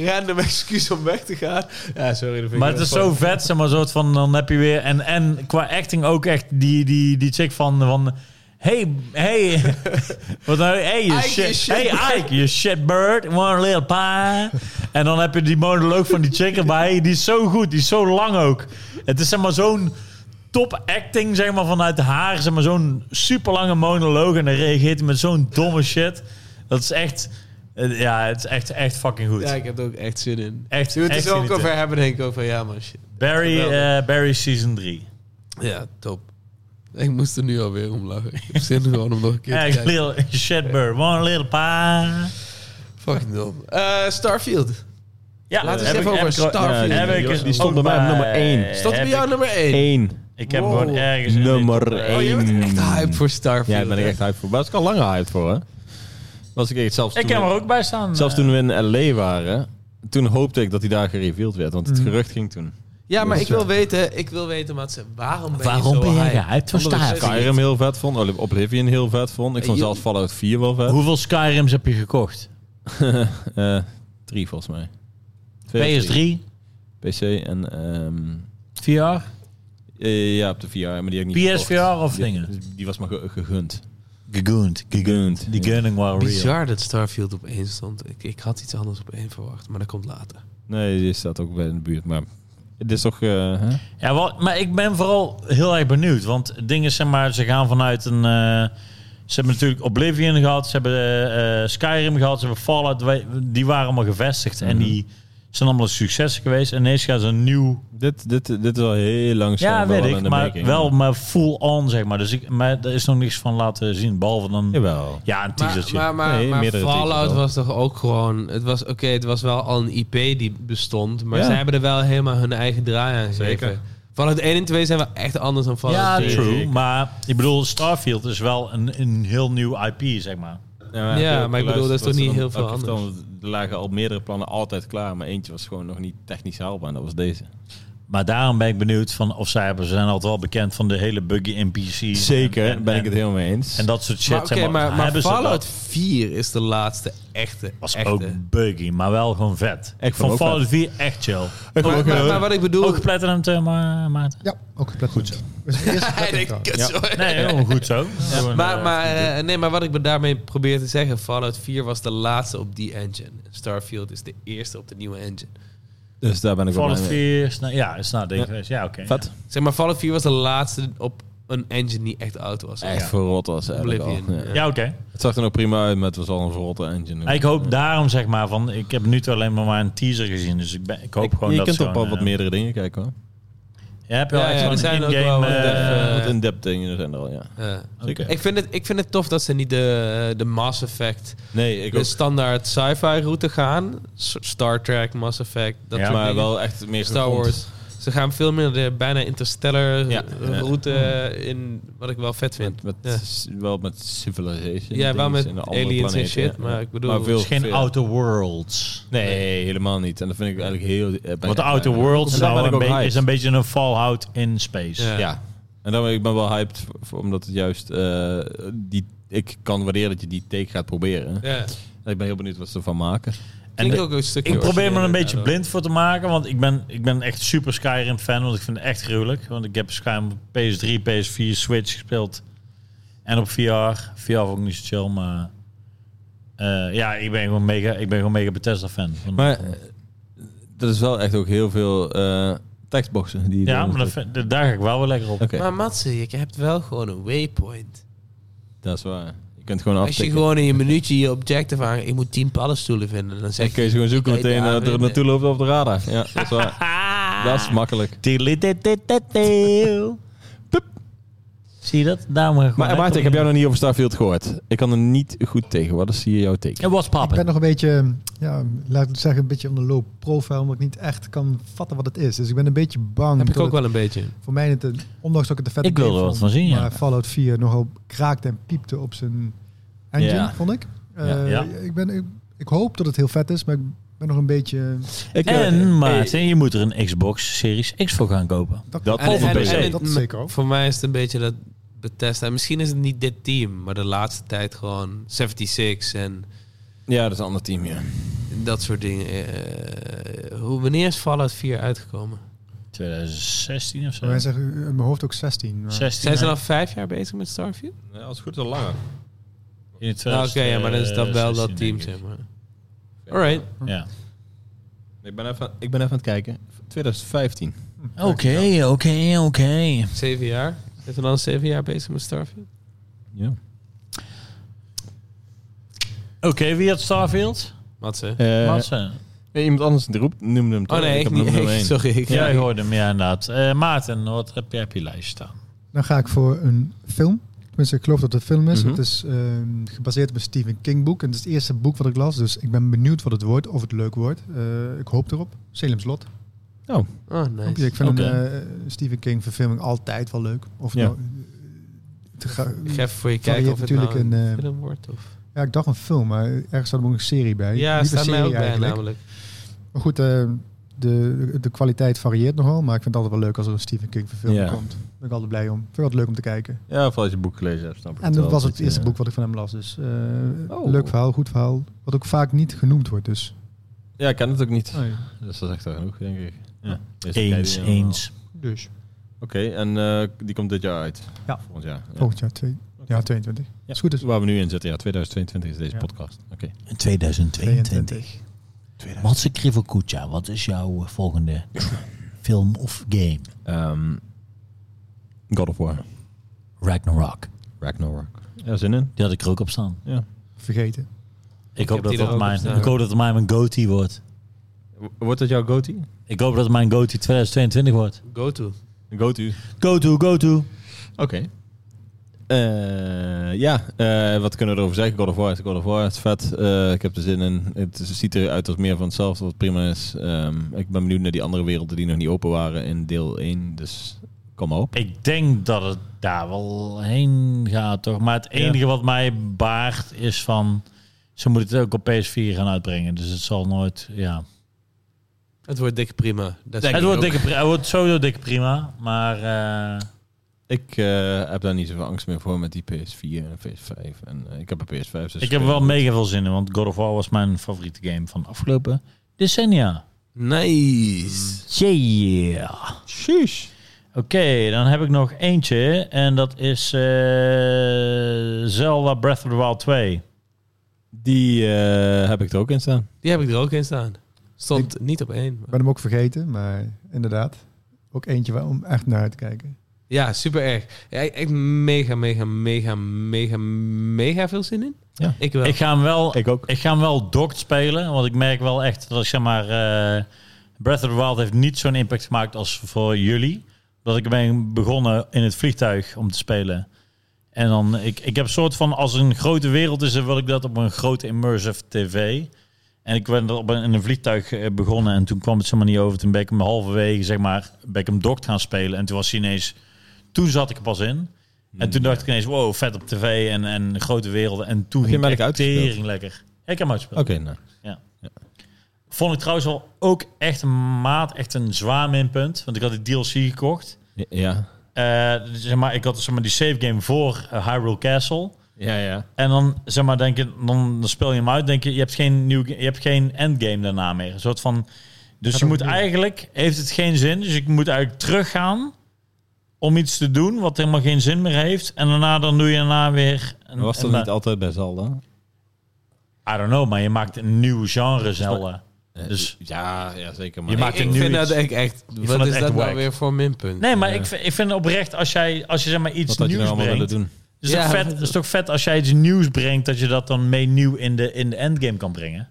Speaker 1: random excuus om weg te gaan. Ja, sorry. Dat vind
Speaker 2: Maar
Speaker 1: ik
Speaker 2: het is
Speaker 1: wel
Speaker 2: zo
Speaker 1: fucking-
Speaker 2: vet, zeg maar, soort van, dan heb je weer... En, en qua acting ook echt die, die, die chick van... van Hey, hey, wat nou? Hey, you
Speaker 1: Ike, you
Speaker 2: shit,
Speaker 1: shit
Speaker 2: hey Ike, you shit bird, one little pie. En dan heb je die monoloog van die chick erbij. Die is zo goed, die is zo lang ook. Het is zeg maar zo'n top acting, zeg maar, vanuit haar. Zeg maar zo'n super lange monoloog en dan reageert hij met zo'n domme shit. Dat is echt, eh, ja, het is echt, echt fucking goed.
Speaker 1: Ja, ik heb er ook echt zin in.
Speaker 2: Echt,
Speaker 1: Zullen we het
Speaker 2: echt
Speaker 1: er zo ook
Speaker 2: genieten.
Speaker 1: over hebben, denk ik ook van, ja man, shit.
Speaker 2: Barry,
Speaker 1: Geweldig.
Speaker 2: eh, Barry season 3.
Speaker 1: Ja, top. Ik moest er nu alweer om lachen. Ik heb zin gewoon om nog een keer te
Speaker 2: Echt
Speaker 1: kijken.
Speaker 2: little shitbird, one little pa.
Speaker 1: Fucking dom. Eh, Starfield.
Speaker 2: Ja,
Speaker 1: Laten
Speaker 2: heb
Speaker 1: we eens
Speaker 2: ik-
Speaker 1: even
Speaker 2: heb
Speaker 1: over
Speaker 2: ik er-
Speaker 1: Starfield.
Speaker 2: heb ik
Speaker 3: Die
Speaker 2: er
Speaker 3: stond
Speaker 2: ook
Speaker 3: bij mij op nummer één.
Speaker 1: Stond er bij
Speaker 2: Heb
Speaker 1: jou
Speaker 2: ik-
Speaker 1: nummer 1?
Speaker 3: Eén.
Speaker 2: Ik heb
Speaker 1: Wow.
Speaker 2: gewoon ergens... in die
Speaker 3: Nummer
Speaker 2: top, eh,
Speaker 1: Oh, je bent echt
Speaker 3: Eén.
Speaker 1: hyped voor Starfield.
Speaker 3: Ja, daar ben ik
Speaker 1: hè?
Speaker 3: echt hyped voor. Maar was ik al langer hyped voor, hè? Was ik echt zelfs
Speaker 2: Ik
Speaker 3: toen
Speaker 2: heb
Speaker 3: we-
Speaker 2: er ook bij staan.
Speaker 3: Zelfs
Speaker 2: eh.
Speaker 3: toen we in L.A. waren, toen hoopte ik dat hij daar gereveeld werd. Want het
Speaker 1: Mhm.
Speaker 3: gerucht ging toen.
Speaker 1: Ja, maar
Speaker 4: Ja,
Speaker 1: ik wil weten, ik wil weten, Matze, waarom ben je
Speaker 2: Waarom
Speaker 1: zo
Speaker 2: ben jij
Speaker 1: hyped?
Speaker 2: gehyped voor
Speaker 1: Omdat ik
Speaker 2: Starfield?
Speaker 3: Skyrim heel vet vond, Oli- Oblivion heel vet vond. Ik vond
Speaker 1: Eh,
Speaker 3: zelfs Fallout 4 wel vet.
Speaker 2: Hoeveel Skyrims heb je gekocht?
Speaker 3: Eh, drie volgens mij. Twee of drie.
Speaker 2: PS3,
Speaker 3: PC en... ehm,
Speaker 2: VR,
Speaker 3: eh, ja, op de VR, maar die heb ik niet
Speaker 2: PSVR of
Speaker 3: gekocht.
Speaker 2: dingen?
Speaker 3: Die, die was maar ge- gegund.
Speaker 2: Gegoond.
Speaker 3: Gegund.
Speaker 2: Die
Speaker 3: ja.
Speaker 2: gunning while real.
Speaker 1: Bizar dat Starfield op één stond. Ik, ik had iets anders op één verwacht, maar dat komt later.
Speaker 3: Nee, die staat ook bij in de buurt, maar... Het is toch... eh, hè?
Speaker 2: Ja, wel, maar ik ben vooral heel erg benieuwd. Want het ding is, zeg maar, ze gaan vanuit een... eh, ze hebben natuurlijk Oblivion gehad, ze hebben eh, eh, Skyrim gehad, ze hebben Fallout. wij- Die waren allemaal gevestigd en
Speaker 3: Mhm.
Speaker 2: die zijn allemaal successen geweest. En ineens gaan ze een nieuw...
Speaker 3: Dit, dit, dit is al heel lang
Speaker 2: Ja,
Speaker 3: schijnbaar
Speaker 2: weet
Speaker 3: wel
Speaker 2: ik,
Speaker 3: in de
Speaker 2: maar
Speaker 3: making.
Speaker 2: wel maar full on, zeg maar. Dus ik, maar er is nog niks van laten zien, behalve dan... Ja,
Speaker 3: Jawel.
Speaker 2: een
Speaker 1: Maar,
Speaker 2: teasertje.
Speaker 1: maar, maar,
Speaker 3: Nee,
Speaker 1: maar
Speaker 3: meerdere
Speaker 1: Fallout
Speaker 3: teasers wel.
Speaker 1: was toch ook gewoon... Het was, oké, het was wel al een IP die bestond, maar
Speaker 3: Ja.
Speaker 1: zij hebben er wel helemaal hun eigen draai aan gegeven.
Speaker 3: Zeker.
Speaker 1: Fallout 1 en 2 zijn wel echt anders dan Fallout
Speaker 2: ja,
Speaker 1: 3.
Speaker 2: true.
Speaker 3: ik.
Speaker 2: Maar ik bedoel, Starfield is wel een, een heel nieuw IP, zeg maar.
Speaker 1: Ja, maar ik bedoel, dat is toch niet heel veel
Speaker 3: anders. Er lagen al meerdere plannen altijd klaar, maar eentje was gewoon nog niet technisch haalbaar en dat was deze.
Speaker 2: Maar daarom ben ik benieuwd van of zij hebben, ze zijn altijd wel bekend van de hele buggy NPC.
Speaker 3: Zeker,
Speaker 2: En- en-
Speaker 3: ben ik
Speaker 2: en-
Speaker 3: het helemaal mee eens.
Speaker 2: En dat soort shit.
Speaker 1: Maar, oké,
Speaker 2: zeg maar,
Speaker 1: maar, maar
Speaker 2: hebben ze
Speaker 1: Fallout
Speaker 2: dat?
Speaker 1: 4 is de laatste echte.
Speaker 2: was
Speaker 1: echte.
Speaker 2: ook buggy, maar wel gewoon vet.
Speaker 3: vond
Speaker 2: Ik vond
Speaker 3: ook vet.
Speaker 2: Fallout 4 echt chill.
Speaker 1: Maar, maar, maar wat ik bedoel...
Speaker 2: Ook platinum, eh, maar Maarten.
Speaker 4: Ja, ook het Goed zo. Dus de eerste
Speaker 1: Hij denkt,
Speaker 4: Platinum
Speaker 1: kut,
Speaker 3: Ja.
Speaker 1: sorry.
Speaker 2: Nee, helemaal goed zo. Gewoon,
Speaker 1: Maar,
Speaker 2: eh,
Speaker 1: maar, eh, nee, maar wat ik daarmee probeer te zeggen... Fallout 4 was de laatste op die engine. Starfield is de eerste op de nieuwe engine.
Speaker 3: dus daar ben ik wel
Speaker 2: eh, Fallout
Speaker 3: blij mee.
Speaker 2: 4 is, na- ja, is nadenken
Speaker 3: Ja.
Speaker 2: geweest. Ja, oké.
Speaker 3: Vet.
Speaker 1: Zeg maar, Fallout 4 was de laatste op een engine die echt oud was.
Speaker 3: Echt verrot was eigenlijk al.
Speaker 1: Oblivion,
Speaker 3: Ja.
Speaker 2: Ja, ja oké.
Speaker 3: Het zag er nog prima uit, maar het was al een verrotte engine.
Speaker 2: Ik hoop daarom, zeg maar, van ik heb nu toe alleen maar, maar een teaser gezien. Dus ik, ben, ik hoop
Speaker 3: Ik-
Speaker 2: gewoon
Speaker 3: je
Speaker 2: dat
Speaker 3: kunt
Speaker 2: ze
Speaker 3: op wel
Speaker 2: gewoon,
Speaker 3: wat
Speaker 2: eh,
Speaker 3: meerdere dingen kijken hoor.
Speaker 2: Ja, heb je wel
Speaker 1: Ja,
Speaker 2: echt
Speaker 1: ja,
Speaker 2: zo'n
Speaker 1: er zijn ook wel
Speaker 2: in-game,
Speaker 1: wat
Speaker 2: eh,
Speaker 1: dev, eh,
Speaker 3: Wat in-depth dingen zijn er al, ja.
Speaker 1: Ja.
Speaker 3: Zeker.
Speaker 1: Eh, Ik, vind het, ik vind het tof dat ze niet de, de Mass Effect,
Speaker 3: nee, ik
Speaker 1: de
Speaker 3: ook.
Speaker 1: standaard sci-fi route gaan. S- Star Trek, Mass Effect, dat
Speaker 2: Ja.
Speaker 1: soort
Speaker 3: maar
Speaker 1: dingen.
Speaker 3: wel echt meer
Speaker 1: Star
Speaker 3: gegrond.
Speaker 1: Wars. Ze gaan veel meer de bijna interstellar
Speaker 3: Ja.
Speaker 1: eh, route in, wat ik wel vet vind.
Speaker 3: Met, met,
Speaker 1: Ja.
Speaker 3: s- Wel met civilization.
Speaker 1: Ja, wel
Speaker 3: dingetjes
Speaker 1: met
Speaker 3: en een andere
Speaker 1: aliens en
Speaker 3: planeet,
Speaker 1: shit,
Speaker 3: ja.
Speaker 1: maar ik bedoel-
Speaker 3: Maar veel,
Speaker 2: Het is geen
Speaker 3: veel-
Speaker 2: Outer Worlds.
Speaker 3: Nee, helemaal niet. En dat vind ik eigenlijk heel... eh, ben
Speaker 2: Want
Speaker 3: ik-
Speaker 2: Outer
Speaker 3: eh,
Speaker 2: Worlds
Speaker 3: daar ben
Speaker 2: nou
Speaker 3: ik
Speaker 2: een
Speaker 3: ook
Speaker 2: beetje-
Speaker 3: hyped.
Speaker 2: is een beetje een Fallout in space.
Speaker 1: Ja.
Speaker 3: Ja. En dan ben ik ben wel hyped, voor- voor- omdat het juist... eh, die, ik kan waarderen dat je die take gaat proberen.
Speaker 1: Ja.
Speaker 3: En ik ben heel benieuwd wat ze ervan maken.
Speaker 2: En
Speaker 1: Klinkt
Speaker 2: de-
Speaker 1: ook een stukje
Speaker 2: ik probeer me er een
Speaker 1: origineler,
Speaker 2: beetje
Speaker 1: daardoor.
Speaker 2: blind voor te maken, want ik ben, ik ben echt super Skyrim fan, want ik vind het echt gruwelijk. Want ik heb Skyrim op PS3, PS4, Switch gespeeld en op VR. VR vond ik niet zo chill, maar eh, ja, ik ben gewoon mega, ik ben gewoon mega Bethesda fan. Want-
Speaker 3: Maar eh, dat is wel echt ook heel veel eh, tekstboxen. Die je
Speaker 2: ja,
Speaker 3: erin
Speaker 2: maar dat
Speaker 3: stopt.
Speaker 2: vind- daar ga ik wel weer lekker op.
Speaker 3: Oké,
Speaker 1: Maar Matze, je hebt wel gewoon een waypoint.
Speaker 3: dat is waar. Je kunt gewoon
Speaker 1: Als je
Speaker 3: aftikken.
Speaker 1: gewoon in je minuutje je objective aan, ik moet 10 paddenstoelen vinden, dan
Speaker 3: Dan
Speaker 1: zeg
Speaker 3: kun
Speaker 1: je.
Speaker 3: je ze gewoon zoeken
Speaker 1: Kijk,
Speaker 3: meteen
Speaker 1: daar
Speaker 3: eh, dat er
Speaker 1: winnen.
Speaker 3: naartoe loopt op de radar. Ja, dat is Ah. waar. dat is makkelijk.
Speaker 2: Tilly, dit, dit, dit, dit. Zie je dat? Daarom gewoon
Speaker 3: Maar eh,
Speaker 2: lekker
Speaker 3: Maarten, ik heb
Speaker 2: in.
Speaker 3: jou nog niet over Starfield gehoord. Ik kan er niet goed tegen. Wat is hier jouw teken?
Speaker 1: Oh,
Speaker 2: Het was
Speaker 4: Ik ben
Speaker 2: pappen.
Speaker 4: nog een beetje, ja, laat ik het zeggen, een beetje on the low profile, omdat ik niet echt kan vatten wat het is. Dus ik ben een beetje bang.
Speaker 1: Heb ik
Speaker 4: dat
Speaker 1: ook
Speaker 4: het-
Speaker 1: wel een beetje.
Speaker 4: Voor mij, het, een- ondanks dat ik het een vette
Speaker 2: Ik wil
Speaker 4: game
Speaker 2: er wat
Speaker 4: vond,
Speaker 2: van zien, ja.
Speaker 4: Maar Fallout 4 nogal kraakte en piepte op zijn engine,
Speaker 3: Ja.
Speaker 4: vond ik. Eh,
Speaker 2: Ja, ja.
Speaker 4: Ik, ben, ik, ik hoop dat het heel vet is, maar ik ben nog een beetje...
Speaker 3: Ik, eh,
Speaker 2: En Maarten, je moet er een Xbox Series X voor gaan kopen.
Speaker 3: Dat
Speaker 1: En-
Speaker 3: of een
Speaker 1: en-
Speaker 3: PC.
Speaker 1: en-
Speaker 4: Dat
Speaker 1: en-
Speaker 4: zeker ook.
Speaker 1: Voor mij is het een beetje dat Bethesda. Misschien is het niet dit team, maar de laatste tijd gewoon 76 en
Speaker 3: ja, dat is een ander team, ja.
Speaker 1: dat soort dingen. Eh, hoe, wanneer is Fallout 4 uitgekomen?
Speaker 2: 2016 of zo.
Speaker 4: Wij zeggen in mijn hoofd ook 16. maar-
Speaker 2: 16,
Speaker 1: Zijn ze al vijf jaar bezig met Starfield?
Speaker 3: als het goed is, al langer.
Speaker 2: in het
Speaker 1: Nou, Oké,
Speaker 2: 2000,
Speaker 1: ja, maar dan is dat
Speaker 2: eh,
Speaker 1: wel
Speaker 2: 16,
Speaker 1: dat team,
Speaker 2: denk ik.
Speaker 1: zeg maar. Alright.
Speaker 2: Ja.
Speaker 3: Ik ben, even, ik ben even aan het kijken. 2015.
Speaker 2: Oké, oké, oké.
Speaker 1: Zeven jaar. Zijn ze dan zeven jaar bezig met Starfield?
Speaker 3: Ja.
Speaker 2: Oké, wie had Starfield?
Speaker 1: Matze?
Speaker 2: Madsen.
Speaker 3: nee, Eh, iemand anders roept, noemde hem toch?
Speaker 1: Oh nee, ik,
Speaker 3: heb
Speaker 1: niet.
Speaker 3: nummer
Speaker 1: ik-
Speaker 3: één.
Speaker 1: sorry. Ik,
Speaker 2: Jij hoorde hem, ja, inderdaad. Eh, Maarten, wat heb je op je lijst staan?
Speaker 4: Dan ga ik voor een film. Tenminste, ik geloof dat het een film is.
Speaker 3: Mhm.
Speaker 4: Het
Speaker 1: dus-
Speaker 4: is ehm, gebaseerd op een Stephen King boek. En het is het eerste boek wat ik las. Dus ik ben benieuwd wat het wordt. Of het leuk wordt. Eh, ik hoop erop. Salem's Lot.
Speaker 1: Oh,
Speaker 4: Ook,
Speaker 1: nice.
Speaker 4: Ik vind
Speaker 2: Oké.
Speaker 4: een eh, Stephen King verfilming altijd wel leuk. Of
Speaker 3: Ja.
Speaker 4: nou, het ga-
Speaker 1: Ik ga even voor je kijken
Speaker 4: je
Speaker 1: of het
Speaker 4: natuurlijk
Speaker 1: nou een,
Speaker 4: een, eh,
Speaker 1: film wordt. Of...
Speaker 4: ja, ik dacht een film, maar ergens staat er ook een serie bij.
Speaker 1: Ja,
Speaker 4: Liever
Speaker 1: staat mij ook
Speaker 4: serie
Speaker 1: bij
Speaker 4: eigenlijk.
Speaker 1: namelijk.
Speaker 4: Maar goed, eh, de, de kwaliteit varieert nogal. Maar ik vind het altijd wel leuk als er een Stephen King verfilming
Speaker 3: Ja.
Speaker 4: komt. Daar ben ik altijd blij om. Vind ik altijd leuk om te kijken.
Speaker 3: Ja, vooral als je het boek gelezen hebt, snap ik
Speaker 4: En dat
Speaker 3: wel.
Speaker 4: was het
Speaker 3: Dat,
Speaker 4: eerste
Speaker 3: eh,
Speaker 4: boek wat ik van hem las. Dus eh,
Speaker 3: Oh.
Speaker 4: leuk verhaal, goed verhaal. Wat ook vaak niet genoemd wordt. Dus.
Speaker 3: Ja, ik ken het ook niet. Dus dat is echt wel genoeg, denk ik. Ja. Deze
Speaker 2: Eens, eh,
Speaker 3: kijken die eh, allemaal.
Speaker 2: eens.
Speaker 4: Dus
Speaker 3: Oké, en eh, die komt dit jaar uit?
Speaker 4: Ja.
Speaker 3: Volgend jaar. Ja.
Speaker 4: volgend jaar twee, ja, 22.
Speaker 3: Ja.
Speaker 4: Als het goed dus. is.
Speaker 3: Waar we nu in zitten, ja, 2022 is deze
Speaker 4: Ja.
Speaker 3: podcast. Oké.
Speaker 2: 2022.
Speaker 4: 22.
Speaker 2: Matze Krivokucha, wat is jouw eh, volgende film of game?
Speaker 3: Ehm, God of War.
Speaker 2: Ragnarok.
Speaker 3: Ragnarok. Ja, zin in?
Speaker 2: Die had ik er ook op staan.
Speaker 4: Vergeten.
Speaker 2: Ik,
Speaker 1: Ik
Speaker 2: hoop,
Speaker 1: heb
Speaker 2: dat
Speaker 1: die er
Speaker 2: dat
Speaker 1: ook op
Speaker 2: mijn,
Speaker 1: staan.
Speaker 2: ik hoop dat het mijn een goatee wordt.
Speaker 3: Wordt dat jouw go-to?
Speaker 2: Ik hoop dat het mijn goatee 2022 wordt.
Speaker 1: Go to.
Speaker 3: Go-to.
Speaker 2: Go-to, go-to.
Speaker 3: Oké. Eh, ja, eh, wat kunnen we erover zeggen? God of War is God of War. Het is vet. Eh, ik heb er zin in. Het is- ziet eruit als meer van hetzelfde, wat prima is. Ehm, ik ben benieuwd naar die andere werelden die nog niet open waren in deel 1. Dus kom maar op.
Speaker 2: Ik denk dat het daar wel heen gaat, toch? Maar het enige wat mij baart is van... Ze moeten het ook op PS4 gaan uitbrengen. Dus het zal nooit... Ja.
Speaker 1: Het wordt dik prima. Dat
Speaker 2: Het wordt, dikke, pri- het wordt sowieso dikke prima. Maar eh,
Speaker 3: Ik eh, heb daar niet zoveel angst meer voor met die PS4 en PS5. En eh, ik heb een PS5. Dus
Speaker 2: ik heb er wel
Speaker 3: speel-
Speaker 2: mega veel zin in. Want God of War was mijn favoriete game van de afgelopen decennia. Mm.
Speaker 1: Nice.
Speaker 2: Yeah.
Speaker 3: Sheesh.
Speaker 2: Oké, dan heb ik nog eentje. En dat is eh, Zelda Breath of the Wild 2.
Speaker 3: Die eh, heb ik er ook in staan.
Speaker 1: Die heb ik er ook in staan. Stond niet op één.
Speaker 4: Ik
Speaker 1: maar-
Speaker 4: ben hem ook vergeten, maar inderdaad. Ook eentje waar om echt naar uit te kijken.
Speaker 1: Ja, super erg. Ja, ik ik mega, mega, mega, mega, mega veel zin in.
Speaker 3: Ja.
Speaker 1: Ik wel.
Speaker 2: Ik ga hem wel
Speaker 3: Ik ook.
Speaker 2: Ik ga hem wel dokt spelen, want ik merk wel echt dat ik zeg maar... eh, Breath of the Wild heeft niet zo'n impact gemaakt als voor jullie. Dat ik ben begonnen in het vliegtuig om te spelen. En dan, ik, ik heb een soort van, als er een grote wereld is, dan wil ik dat op een grote immersive tv. En ik ben er op een, in een vliegtuig eh, begonnen en toen kwam het zomaar niet over. Toen ben ik hem halverwege, zeg maar, ben ik hem dokt gaan spelen. En toen was hij ineens, toen zat ik er pas in.
Speaker 3: Hmm,
Speaker 2: En toen dacht ik ineens, wow, vet op tv en, en grote werelden. En toen
Speaker 3: Heb je
Speaker 2: ging
Speaker 3: hem
Speaker 2: ik
Speaker 3: eigenlijk
Speaker 2: echt
Speaker 3: uitgespeeld?
Speaker 2: tering lekker. Ja, Ik heb hem
Speaker 3: Oké,
Speaker 2: uitgespeeld.
Speaker 3: nou.
Speaker 2: Vond ik trouwens wel ook echt een maat, echt een zwaar minpunt. Want ik had die DLC gekocht.
Speaker 3: Ja.
Speaker 2: Eh, zeg maar, ik had zeg maar, die save game voor eh, Hyrule Castle.
Speaker 3: Ja, ja.
Speaker 2: En dan, zeg maar, denk je, dan, dan speel je hem uit. Denk je, je hebt geen, nieuw, je hebt geen endgame daarna meer. Een soort van. Dus je moet eigenlijk, heeft het geen zin. Dus ik moet eigenlijk teruggaan om iets te doen wat helemaal geen zin meer heeft. En daarna dan doe je daarna weer. Een,
Speaker 3: Was dat
Speaker 2: een-
Speaker 3: niet altijd bij Zelda?
Speaker 2: I don't know, maar je maakt een nieuw genre Zelda. Dus-
Speaker 3: Eh, ja, ja, zeker.
Speaker 2: Je
Speaker 3: Maar
Speaker 2: maakt
Speaker 1: ik, ik
Speaker 2: er nu
Speaker 1: vind
Speaker 2: iets.
Speaker 1: dat ik echt...
Speaker 2: vond
Speaker 1: wat
Speaker 2: het
Speaker 1: is
Speaker 2: echt
Speaker 1: dat
Speaker 2: wack.
Speaker 1: nou weer voor minpunt?
Speaker 2: Nee, maar ik, vind- ik vind oprecht, als, jij, als je zeg maar iets
Speaker 3: wat had je
Speaker 2: nieuws
Speaker 3: nou allemaal willen
Speaker 2: brengt...
Speaker 3: doen?
Speaker 2: Het is,
Speaker 1: Ja,
Speaker 2: toch vet,
Speaker 1: maar-
Speaker 2: het is toch vet als jij iets nieuws brengt, dat je dat dan mee nieuw in de, in de endgame kan brengen.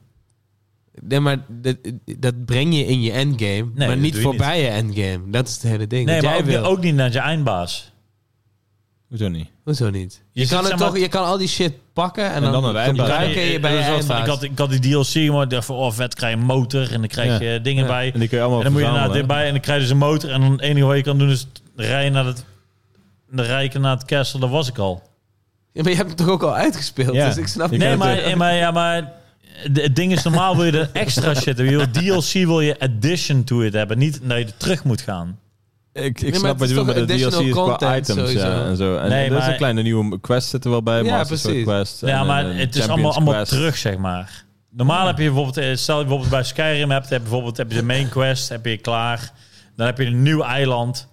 Speaker 1: Nee, maar dat, dat breng je in je endgame, maar
Speaker 2: dat
Speaker 1: niet
Speaker 2: doe je
Speaker 1: voorbij je endgame. Dat is het hele ding.
Speaker 2: Nee,
Speaker 1: wat
Speaker 2: maar
Speaker 1: jij
Speaker 2: ook,
Speaker 1: wil.
Speaker 2: ook niet naar je eindbaas.
Speaker 3: Hoezo niet?
Speaker 1: Hoezo niet? Je,
Speaker 2: zit,
Speaker 1: kan, het
Speaker 2: zeg
Speaker 1: toch,
Speaker 2: maar-
Speaker 1: je kan al die shit pakken en,
Speaker 3: En
Speaker 1: dan,
Speaker 3: dan een rijbaas.
Speaker 1: gebruiken je bij je
Speaker 2: Dus dat van, ik,
Speaker 1: eindbaas.
Speaker 2: had, ik had die DLC, maar ik dacht van, oh vet, krijg je een motor en dan krijg je
Speaker 3: Ja.
Speaker 2: dingen
Speaker 1: Ja.
Speaker 2: bij.
Speaker 3: En die kun je
Speaker 2: En
Speaker 3: allemaal
Speaker 2: dan moet je naar
Speaker 3: verzamelen,
Speaker 2: dit
Speaker 3: hè?
Speaker 2: bij en dan krijg je dus een motor. En dan het enige wat je kan doen is t- rijden naar het, dan rij ik naar het castle. Dat was ik al.
Speaker 1: Ja, maar je hebt het toch ook al uitgespeeld,
Speaker 3: Ja.
Speaker 1: dus ik
Speaker 3: Je
Speaker 1: snap niet.
Speaker 2: nee,
Speaker 3: kent
Speaker 2: maar,
Speaker 3: het.
Speaker 2: eh, maar, ja, maar d- het ding is, normaal wil je er extra shit hebben. Je wil DLC wil je addition to it hebben. Niet dat je er terug moet gaan.
Speaker 3: Ik, ik
Speaker 1: maar
Speaker 3: snap
Speaker 1: het
Speaker 3: wat
Speaker 1: is
Speaker 3: je bedoelt
Speaker 1: toch
Speaker 3: met de
Speaker 1: additional
Speaker 3: DLC's qua
Speaker 1: content
Speaker 3: items
Speaker 1: sowieso.
Speaker 3: ja, en zo. En
Speaker 2: Nee,
Speaker 3: er is
Speaker 2: maar-
Speaker 3: een kleine nieuwe quest zit er wel bij,
Speaker 1: Ja,
Speaker 3: Master Sword
Speaker 1: precies.
Speaker 3: Quest.
Speaker 2: ja,
Speaker 3: en,
Speaker 2: maar
Speaker 3: eh,
Speaker 2: het is allemaal,
Speaker 3: Champions
Speaker 2: allemaal
Speaker 3: Quest.
Speaker 2: terug, zeg maar. Normaal heb je bijvoorbeeld, eh, stel je bijvoorbeeld bij Skyrim hebt, heb je bijvoorbeeld heb je de main quest, heb je klaar. Dan heb je een nieuw eiland.